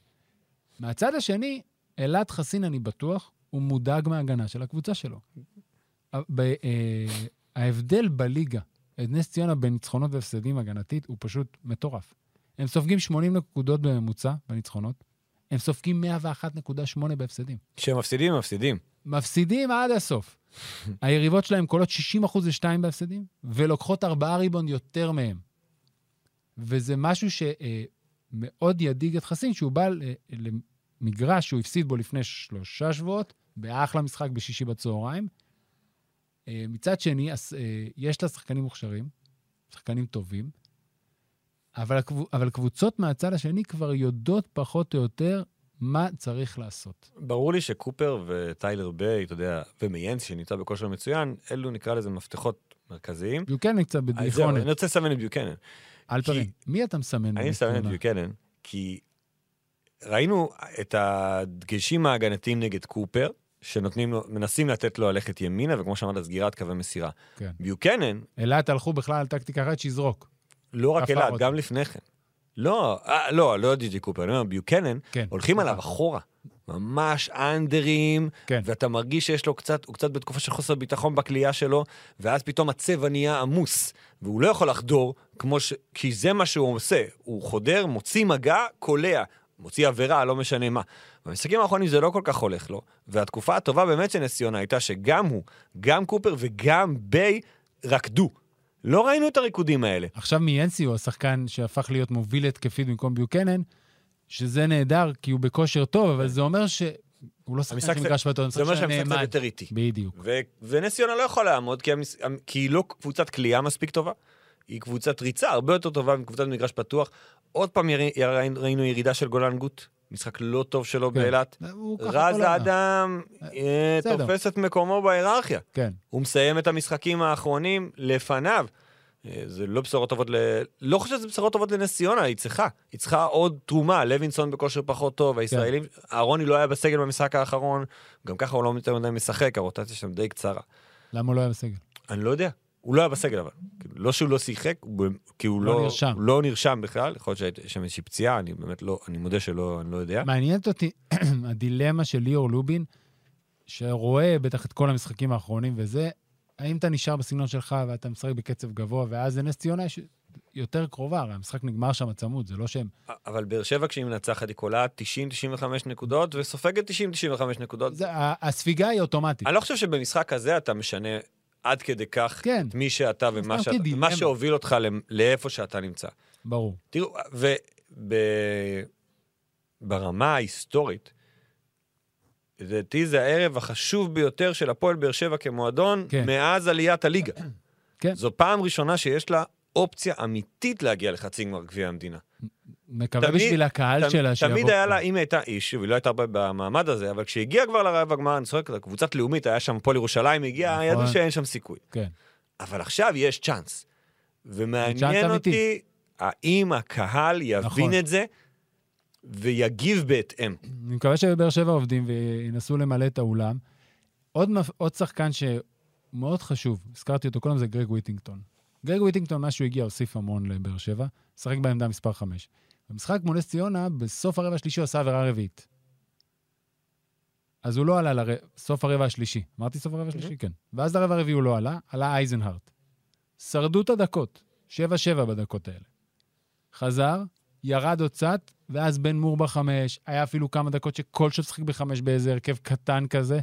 מהצד השני, אלעד חסין, אני בטוח, הוא מודאג מההגנה של הקבוצה שלו. ב- אה, ההבדל בליגה, את נס ציונה בניצחונות והפסדים הגנתית, הוא פשוט מטורף. הם סופגים 80 נקודות בממוצע בניצחונות, הם סופגים 101.8 בהפסדים. כשהם מפסידים, הם מפסידים. מפסידים עד הסוף. היריבות שלהם קולות 60% ל-2 בהפסדים, ולוקחות 4 ריבון יותר מהם. וזה משהו שמאוד ידאיג את חסין, שהוא בא ל- אה, למגרש שהוא הפסיד בו לפני שלושה שבועות, באחלה משחק בשישי בצהריים. אה, מצד שני, הס- אה, יש לה שחקנים מוכשרים, שחקנים טובים, אבל, הקבו- אבל קבוצות מהצד השני כבר יודעות פחות או יותר מה צריך לעשות. ברור לי שקופר וטיילר ביי, אתה יודע, ומיינס, שנמצא בכושר מצוין, אלו נקרא לזה מפתחות מרכזיים. הוא כן נמצא אז זהו, בדיכאונת. אני רוצה לסמן את ביוקנן. אלפרין, כי- מי אתה מסמן? אני מסמן את בתמונה? ביוקנן, כי ראינו את הדגשים ההגנתיים נגד קופר, שנותנים לו, מנסים לתת לו ללכת ימינה, וכמו שאמרת, סגירת קווי מסירה. כן. ביוקנן, אילת הלכו בכלל על טקטיקה אחרת, שיזרוק. לא רק עפר אלעד, אותו. גם לפני כן. לא, אה, לא, לא די.ג'י קופר, אני אומר, ביוקנן, כן. הולכים עליו אחורה. ממש אנדרים, כן. ואתה מרגיש שיש לו קצת, הוא קצת בתקופה של חוסר ביטחון בכלייה שלו, ואז פתאום הצבע נהיה עמוס, והוא לא יכול לחדור, כמו ש... כי זה מה שהוא עושה, הוא חודר, מוציא מגע, קולע, מוציא עבירה, לא משנה מה. במשחקים האחרונים זה לא כל כך הולך לו, והתקופה הטובה באמת של נס ציונה הייתה שגם הוא, גם קופר וגם ביי רקדו. לא ראינו את הריקודים האלה. עכשיו מיאנסי הוא השחקן שהפך להיות מוביל התקפית במקום ביוקנן, שזה נהדר, כי הוא בכושר טוב, אבל זה אומר שהוא לא כן. המשחק שחקן שמגרש בטוח, זה הוא אומר שחקן שהמשחק קצת נאמן. יותר איטי. בדיוק. ו- ונס ציונה לא יכול לעמוד, כי, המס... המ- כי היא לא קבוצת כליאה מספיק טובה. היא קבוצת ריצה הרבה יותר טובה מקבוצת מגרש פתוח. עוד פעם יר... יר... ראינו ירידה של גולן גוט, משחק לא טוב שלו כן. באילת. הוא ככה כל רז העונה. האדם אה, בסדר. תופס את מקומו בהיררכיה. כן. הוא מסיים את המשחקים האחרונים לפניו. אה, זה לא בשורות טובות ל... לא חושב שזה בשורות טובות לנס ציונה, היא צריכה. היא צריכה עוד תרומה, לוינסון בכושר פחות כן. טוב, הישראלים... אהרוני לא היה בסגל במשחק האחרון, גם ככה הוא לא יותר מדי משחק, הרוטציה שם די קצרה. למה הוא לא היה בסגל? אני לא יודע. הוא לא היה בסגל אבל. כאילו, לא שהוא לא שיחק, הוא ב- כי הוא לא לא, נרשם. הוא לא נרשם בכלל, יכול להיות שהייתה שם איזושהי פציעה, אני באמת לא, אני מודה שלא, אני לא יודע. מעניינת אותי הדילמה של ליאור לובין, שרואה בטח את כל המשחקים האחרונים וזה, האם אתה נשאר בסגנון שלך ואתה משחק בקצב גבוה, ואז לנס ציונה יש יותר קרובה, הרי המשחק נגמר שם הצמוד, זה לא שהם... אבל באר שבע כשהיא מנצחת היא קולעת 90-95 נקודות וסופגת 90-95 נקודות. זה, ה- הספיגה היא אוטומטית. אני לא חושב שבמשחק הזה אתה משנה עד כדי כך כן. את מי שאתה ומה סתם שאתה, כדילמה. מה שהוביל אותך למ- לאיפה שאתה נמצא. ברור. תראו, וברמה ההיסטורית, לדעתי זה הערב החשוב ביותר של הפועל באר שבע כמועדון כן. כן. מאז עליית הליגה. כן. זו פעם ראשונה שיש לה אופציה אמיתית להגיע לחצי גמר גביע המדינה. מקווה תמיד- בשביל הקהל תמ- שלה שיבוא. תמיד היה לה, אם הייתה, היא שוב, היא לא הייתה הרבה במעמד הזה, אבל כשהגיעה כבר לרבע הגמר, אני צוחק, קבוצת לאומית, היה שם הפועל ירושלים, הגיעה, נכון. ידעו שאין שם סיכוי. כן. אבל עכשיו יש צ'אנס. צ'אנס ומעניין אמיתי. אותי האם הקהל נכון. יבין את זה ויגיב בהתאם. אני מקווה שבבאר שבע עובדים וינסו למלא את האולם. עוד, מפ- עוד שחקן שמאוד חשוב, הזכרתי אותו קודם, זה גרג וויטינגטון. גרג וויטינגטון, מאז שהוא הגיע, הוסיף המון לבאר שבע, שחק בעמדה מספר 5. במשחק מול נס ציונה, בסוף הרבע השלישי הוא עשה עבירה רביעית. אז הוא לא עלה לסוף הרבע השלישי. אמרתי סוף הרבע השלישי? כן. ואז לרבע הרביעי הוא לא עלה, עלה אייזנהארט. שרדו את הדקות, 7-7 בדקות האלה. חזר, ירד עוד קצת, ואז בן מור בחמש, היה אפילו כמה דקות שכל שוב שיחק בחמש באיזה הרכב קטן כזה,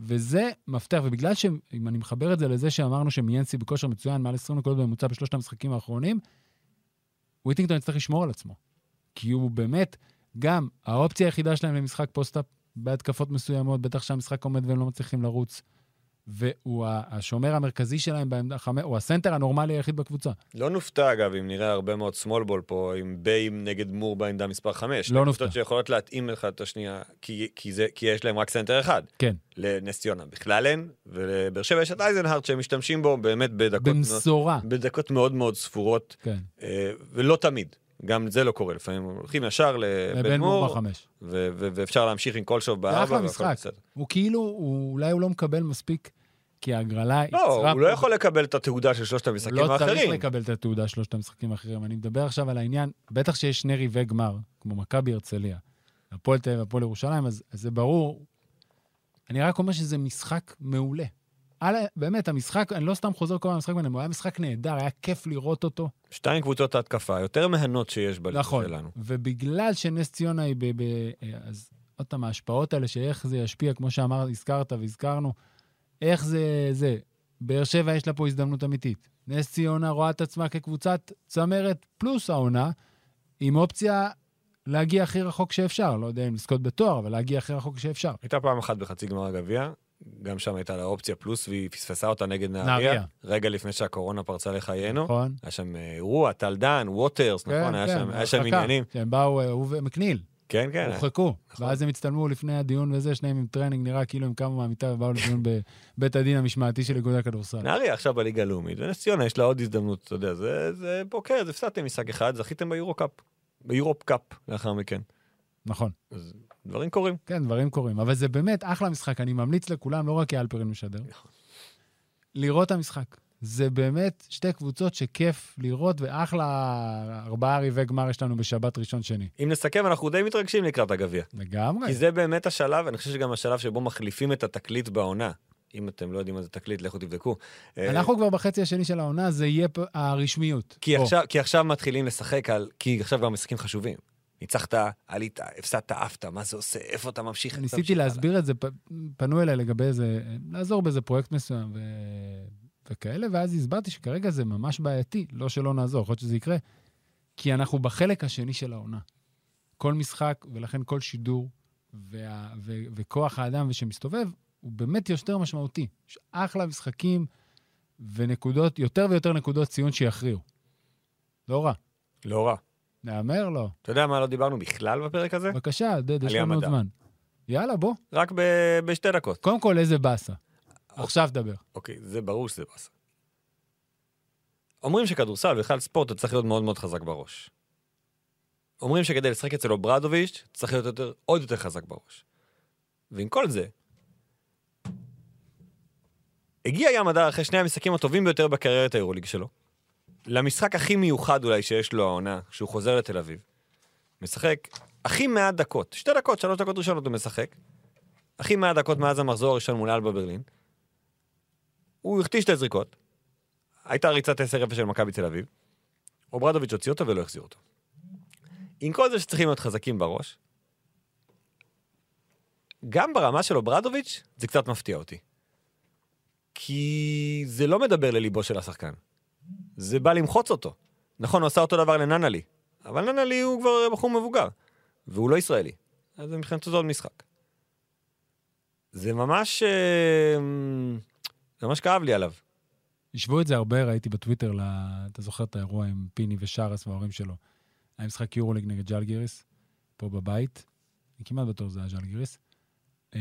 וזה מפתח, ובגלל ש... אם אני מחבר את זה לזה שאמרנו שמיינסי בכושר מצוין, מעל 20 נקודות בממוצע בשלושת המשחקים האחרונים, וויטינגטון יצטרך לשמור על עצמו. כי הוא באמת, גם האופציה היחידה שלהם למשחק פוסט-אפ, בהתקפות מסוימות, בטח שהמשחק עומד והם לא מצליחים לרוץ. והוא ה- השומר המרכזי שלהם בעמדה חמש, הוא הסנטר הנורמלי היחיד בקבוצה. לא נופתע, אגב, אם נראה הרבה מאוד small ball פה, עם ביים נגד מור בעמדה מספר 5. לא נופתע. קבוצות שיכולות להתאים אחת את השנייה, כי, כי, זה, כי יש להם רק סנטר אחד. כן. לנס ציונה בכלל אין, ולבאר שבע יש את אייזנהארט שהם משתמשים בו באמת בדקות, מאוד- במשורה. בדקות מאוד מאוד ספורות, כן. אה, ולא תמיד. גם זה לא קורה, לפעמים הולכים ישר לבן לבן מור מור, בחמש. ו- ו- ואפשר להמשיך עם קולשוב בארבע. זה אחלה והכל משחק. בסדר. הוא כאילו, הוא, אולי הוא לא מקבל מספיק, כי ההגרלה לא, הוא לא פה- יכול לקבל את התעודה של שלושת הוא המשחקים לא צריך האחרים. לקבל את התעודה שלושת המשחקים האחרים. אני מדבר עכשיו על העניין, בטח שיש שני ריבי גמר, כמו מכבי הרצליה, הפועל תל אביב, הפועל ירושלים, אז, אז זה ברור. אני רק אומר שזה משחק מעולה. על, ה- באמת, המשחק, אני לא סתם חוזר כל הזמן למשחק ביניהם, הוא היה משחק נהדר, היה כיף לראות אותו. שתיים קבוצות ההתקפה, יותר מהנות שיש בליגה נכון, שלנו. ובגלל שנס ציונה היא ב... ב אה, אז עוד פעם, ההשפעות האלה, שאיך זה ישפיע, כמו שאמרת, הזכרת והזכרנו, איך זה... זה. באר שבע יש לה פה הזדמנות אמיתית. נס ציונה רואה את עצמה כקבוצת צמרת פלוס העונה, עם אופציה להגיע הכי רחוק שאפשר. לא יודע אם לזכות בתואר, אבל להגיע הכי רחוק שאפשר. הייתה פעם אחת בחצי גמר הגביע, גם שם הייתה לה אופציה פלוס, והיא פספסה אותה נגד נהריה. נהריה, רגע לפני שהקורונה פרצה לחיינו. נכון? כן, היה שם אה, אירוע, טל דן, ווטרס, נכון? היה שם- היה שם הרחקה. עניינים. שהם באו, אה, הוא ומקניל. כן, כן. הורחקו, ואז הם הצטלמו לפני הדיון וזה, שניהם עם טרנינג, נראה כאילו הם קמו מהמיטה ובאו לדיון בבית הדין המשמעתי של איגוד הכדורסל. נהריה נכון. עכשיו בליגה הלאומית, ונס ציונה יש לה עוד הזדמנות, אתה יודע, זה זה פוקר, אז הפסדתם משחק אחד, זכיתם ביורו קאפ, ביורופ קאפ לאחר מכן. נכון. אז דברים קורים. כן, דברים קורים. אבל זה באמת אחלה משחק, אני ממליץ לכולם, לא רק כי אלפרין משדר, נכון. לראות את המשחק. זה באמת שתי קבוצות שכיף לראות, ואחלה ארבעה רבעי גמר יש לנו בשבת ראשון-שני. אם נסכם, אנחנו די מתרגשים לקראת הגביע. לגמרי. כי זה באמת השלב, אני חושב שגם השלב שבו מחליפים את התקליט בעונה. אם אתם לא יודעים מה זה תקליט, לכו תבדקו. אה, אנחנו כבר בחצי השני של העונה, זה יהיה פה הרשמיות. כי פה. עכשיו, כי עכשיו מתחילים לשחק על... כי עכשיו גם משחקים חשובים. ניצחת, עלית, הפסדת, עפת, מה זה עושה, איפה אתה ממשיך? איך אתה ניסיתי ממשיך הלאה? להסביר את זה, פ- פנו אליי לגבי איזה, לעזור באיזה פרויקט מסוים ו... וכאלה, ואז הסברתי שכרגע זה ממש בעייתי, לא שלא נעזור, יכול להיות שזה יקרה, כי אנחנו בחלק השני של העונה. כל משחק, ולכן כל שידור, וה... ו... וכוח האדם ושמסתובב, הוא באמת יותר משמעותי. יש אחלה משחקים ונקודות, יותר ויותר נקודות ציון שיכריעו. לא רע. לא רע. נהמר? לא. אתה יודע מה לא דיברנו בכלל בפרק הזה? בבקשה, דד, יש עלייה לנו עוד מדע. זמן. יאללה, בוא. רק ב- בשתי דקות. קודם כל, איזה באסה. עכשיו תדבר. אוקיי, זה ברור שזה באסה. אומרים שכדורסל, בכלל ספורט, אתה צריך להיות מאוד מאוד חזק בראש. אומרים שכדי לשחק אצל אוברדוביץ', צריך להיות יותר, עוד יותר חזק בראש. ועם כל זה, הגיע ים הדר אחרי שני המשחקים הטובים ביותר בקריירת האירוליג שלו, למשחק הכי מיוחד אולי שיש לו העונה, כשהוא חוזר לתל אביב. משחק הכי מעט דקות, שתי דקות, שלוש דקות ראשונות הוא משחק, הכי מעט דקות מאז המחזור הראשון מול אלבה ברלין. הוא החטיא שתי זריקות, הייתה ריצת 10-0 של מכבי תל אביב, אוברדוביץ' הוציא אותו ולא החזיר אותו. עם כל זה שצריכים להיות חזקים בראש, גם ברמה של אוברדוביץ' זה קצת מפתיע אותי. כי זה לא מדבר לליבו של השחקן. זה בא למחוץ אותו. נכון, הוא עשה אותו דבר לננלי, אבל ננלי הוא כבר בחור מבוגר, והוא לא ישראלי. אז מבחינתו זה עוד משחק. זה ממש... אה, זה ממש כאב לי עליו. השוו את זה הרבה, ראיתי בטוויטר, ל... אתה זוכר את האירוע עם פיני ושרס וההורים שלו. היה משחק יורוליג נגד ג'לגיריס, פה בבית, אני כמעט בטוח שזה היה ג'לגיריס, אה,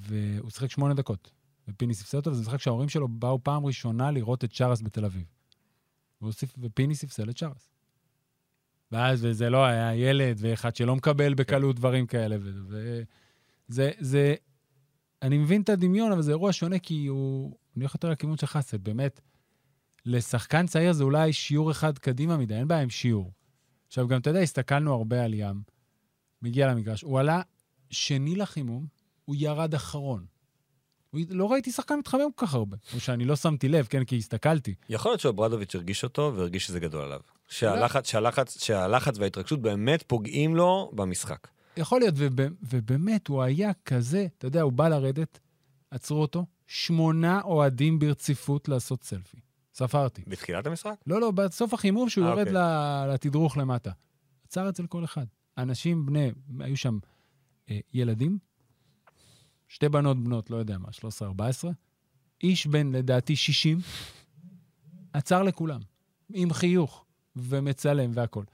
והוא שיחק שמונה דקות, ופיני ספסל אותו, וזה משחק שההורים שלו באו פעם ראשונה לראות את שרס בתל אביב. והוא ספ... ופיני ספסל את שרס. ואז, וזה לא היה ילד, ואחד שלא מקבל בקלות דברים כאלה, ו... ו... זה, זה, אני מבין את הדמיון, אבל זה אירוע שונה, כי הוא, אני הולך יותר לכיוון שלך, זה באמת, לשחקן צעיר זה אולי שיעור אחד קדימה מדי, אין בעיה עם שיעור. עכשיו, גם אתה יודע, הסתכלנו הרבה על ים, מגיע למגרש, הוא עלה שני לחימום, הוא ירד אחרון. הוא, לא ראיתי שחקן מתחמם כל כך הרבה, או שאני לא שמתי לב, כן, כי הסתכלתי. יכול להיות שאוברדוביץ' הרגיש אותו והרגיש שזה גדול עליו. שהלחץ, שהלחץ, שהלחץ וההתרגשות באמת פוגעים לו במשחק. יכול להיות, וב, ובאמת, הוא היה כזה, אתה יודע, הוא בא לרדת, עצרו אותו, שמונה אוהדים ברציפות לעשות סלפי. ספרתי. בתחילת המשחק? לא, לא, בסוף החימום שהוא אה, יורד אוקיי. ל- לתדרוך למטה. עצר אצל כל אחד. אנשים בני, היו שם אה, ילדים, שתי בנות בנות, לא יודע מה, 13-14, איש בן, לדעתי, 60, עצר לכולם, עם חיוך, ומצלם והכול.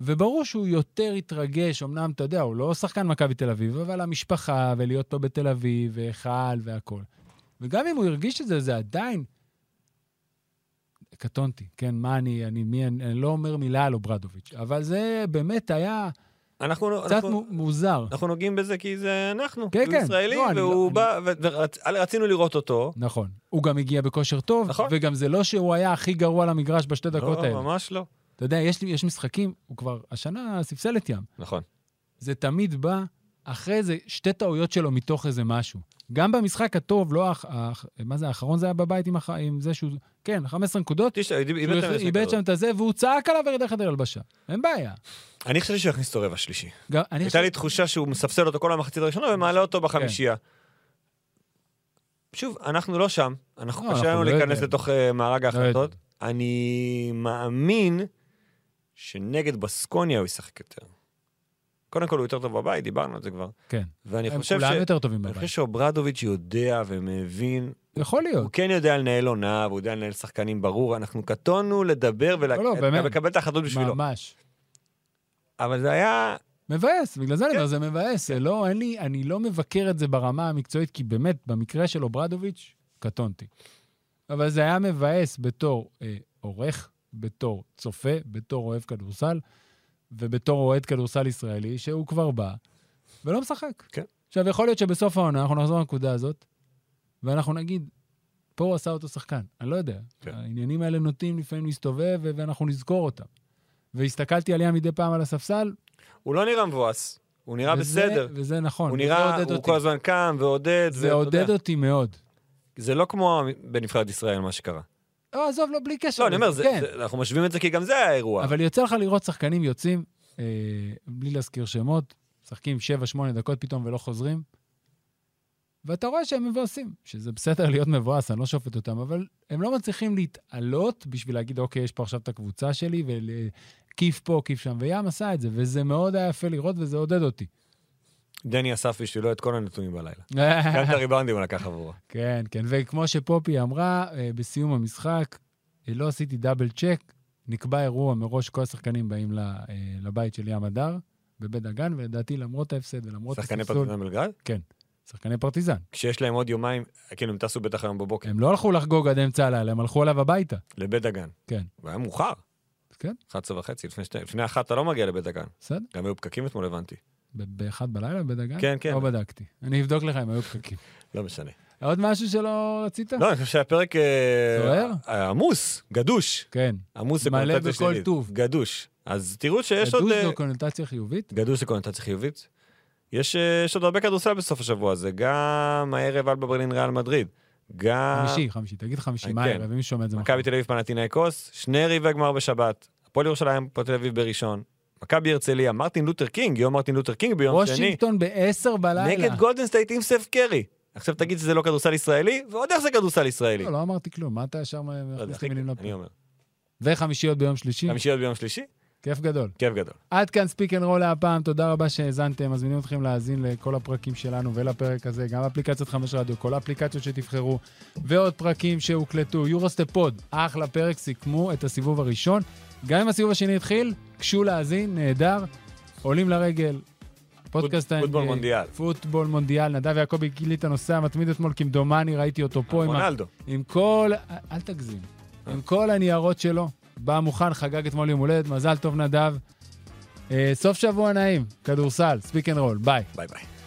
וברור שהוא יותר התרגש, אמנם, אתה יודע, הוא לא שחקן מכבי תל אביב, אבל המשפחה, ולהיות פה בתל אביב, והיכל והכול. וגם אם הוא הרגיש את זה, זה עדיין... קטונתי, כן, מה אני, אני, מי, אני, אני לא אומר מילה על אוברדוביץ', אבל זה באמת היה אנחנו, קצת אנחנו, מ- מוזר. אנחנו נוגעים בזה כי זה אנחנו. כן, הוא כן. ישראלי, לא, אני והוא לא- בא, ו- ורצ- רצינו לראות אותו. נכון. הוא גם הגיע בכושר טוב, נכון. וגם זה לא שהוא היה הכי גרוע למגרש בשתי דקות לא, האלה. ממש לא. אתה יודע, יש, לי- יש משחקים, הוא כבר השנה ספסל את ים. נכון. זה תמיד בא אחרי איזה שתי טעויות שלו מתוך איזה משהו. גם במשחק הטוב, לא האח... האח- מה זה, האחרון זה היה בבית עם, הח... עם זה שהוא... כן, 15 נקודות. תשמע, איבד- הוא איבד את הכ- המשחק כאילו, איבד הזה. שם את הזה, והוא צעק עליו וירד לחדר הלבשה. אין בעיה. אני חשבתי שהוא יכניס אותו רבע שלישי. גם, אני הייתה לי תחושה שהוא מספסל אותו כל המחצית הראשונה נכון. ומעלה אותו בחמישייה. כן. שוב, אנחנו לא שם, לא, אנחנו אנחנו קשה לנו לא להיכנס יודעים. לא לתוך אה, מארג ההחלטות. יודעים. אני מאמין שנגד בסקוניה הוא ישחק יותר. קודם כל הוא יותר טוב בבית, דיברנו על זה כבר. כן. ואני הם חושב ש... כולם יותר טובים אני בבית. חושב שאוברדוביץ' יודע ומבין, יכול להיות. הוא כן יודע לנהל עונה, והוא יודע לנהל שחקנים ברור, אנחנו קטונו לדבר לא, לא, באמת. ולקבל את ההחלטות בשבילו. ממש. אבל זה היה... מבאס, בגלל זה אני כן. אומר, זה מבאס. זה לא, אין לי, אני לא מבקר את זה ברמה המקצועית, כי באמת, במקרה של אוברדוביץ', קטונתי. אבל זה היה מבאס בתור אה, עורך, בתור צופה, בתור אוהב כדורסל, ובתור אוהד כדורסל ישראלי, שהוא כבר בא ולא משחק. כן. עכשיו, יכול להיות שבסוף העונה אנחנו נחזור לנקודה הזאת, ואנחנו נגיד, פה הוא עשה אותו שחקן, אני לא יודע. כן. העניינים האלה נוטים לפעמים להסתובב, ו- ואנחנו נזכור אותם. והסתכלתי עליה מדי פעם על הספסל, הוא לא נראה מבואס, הוא נראה וזה- בסדר. וזה נכון. הוא וזה נראה, עודד הוא אותי. כל הזמן קם ועודד. זה ואתה עודד יודע, אותי מאוד. זה לא כמו בנבחרת ישראל, מה שקרה. לא, עזוב, לא, בלי קשר. לא, אני אומר, לזה, זה- כן, זה- אנחנו משווים את זה כי גם זה היה אירוע. אבל יוצא לך לראות שחקנים יוצאים, אה, בלי להזכיר שמות, משחקים 7-8 דקות פתאום ולא חוזרים, ואתה רואה שהם מבואסים, שזה בסדר להיות מבואס, אני לא שופט אותם, אבל הם לא מצליחים להתעלות בשביל להגיד, אוקיי, יש פה עכשיו את הקבוצה שלי, וכיף פה, כיף שם, וים עשה את זה, וזה מאוד היה יפה לראות, וזה עודד אותי. דני אסף בשבילו את כל הנתונים בלילה. גם את הריבאונדים הוא לקח עבורו. כן, כן, וכמו שפופי אמרה, אה, בסיום המשחק, אה, לא עשיתי דאבל צ'ק, נקבע אירוע מראש, כל השחקנים באים ל- אה, לבית של ים הדר, בבית דגן, ולדעתי למרות ההפסד ולמרות שחקני הספסול, פרטיזן בלגרד? שחקני פרטיזן. כשיש להם עוד יומיים, כאילו, הם טסו בטח היום בבוקר, הם לא הלכו לחגוג עד אמצע הלילה, הם הלכו אליו הביתה. לבית דגן. כן. והיה מאוחר. כן. 11 וחצי, לפני שתי- לפני אחת אתה לא מגיע לבית דגן. בסדר? גם היו פקקים אתמול, הבנתי. ב- באחד בלילה בדגן? כן, כן. לא בדקתי. אני אבדוק לך אם היו פקקים. לא משנה. עוד משהו שלא רצית? לא, אני חושב שהפרק... אה, סוער? אה, עמוס, גדוש. כן. עמוס זה מלא קונוטציה שלילית. בכל טוב. גדוש. אז תראו שיש עוד... ידוש אה, זו קונוטציה חיובית? גדוש זה קונוטציה חיובית. יש, אה, יש עוד הרבה כדורסל בסוף השבוע הזה, גם הערב אלבה ברלין ריאל מדריד, גם... חמישי, נכון. חמישי. תגיד חמישי, אה, מה כן. הערב? מי שומע את זה מחר? מכבי תל אביב פנטינאיקוס, שני רבעי גמר בשבת, הפועל ירושלים הפועל תל אביב בראשון, מכבי הרצליה, מרטין לותר קינג, יום מרטין לותר קינג ביום שני, וושינגטון ב-10 בלילה. נגד גולדן סטייט עם סף קרי. עכשיו תגיד שזה לא כדורסל ישראלי, ועוד איך זה כדורסל ישראלי. לא, לא אמרתי כלום, מה אתה ישר לא יודע, מכניס לי מילים לפה? אני אומר. וחמישיות ביום שלישי, חמישיות ביום שלישי, כיף גדול. כיף גדול. עד כאן ספיק אנד רול להפעם, תודה רבה שהאזנתם, מזמינים אתכם להאזין לכל הפרקים שלנו ולפרק הזה, גם אפליקציית חמש רדיו, כל האפליקציות שתבחרו, ועוד פרקים שהוקלטו, יורוסטה פוד, אחלה פרק, סיכמו את הסיבוב הראשון. גם אם הסיבוב השני התחיל, קשו להאזין, נהדר, עולים לרגל. פודקאסט פוט- ה-NBA, פוטבול מונדיאל. פוטבול מונדיאל, נדב יעקבי גילי את הנושא המתמיד אתמול, כמדומני ראיתי אותו פה עם ה- רונלדו. עם כל, אל תגזים, עם כל הניירות שלו, בא מוכן, חגג אתמול יום הולדת, מזל טוב נדב. אה, סוף שבוע נעים, כדורסל, ספיק אנד רול, ביי. ביי ביי.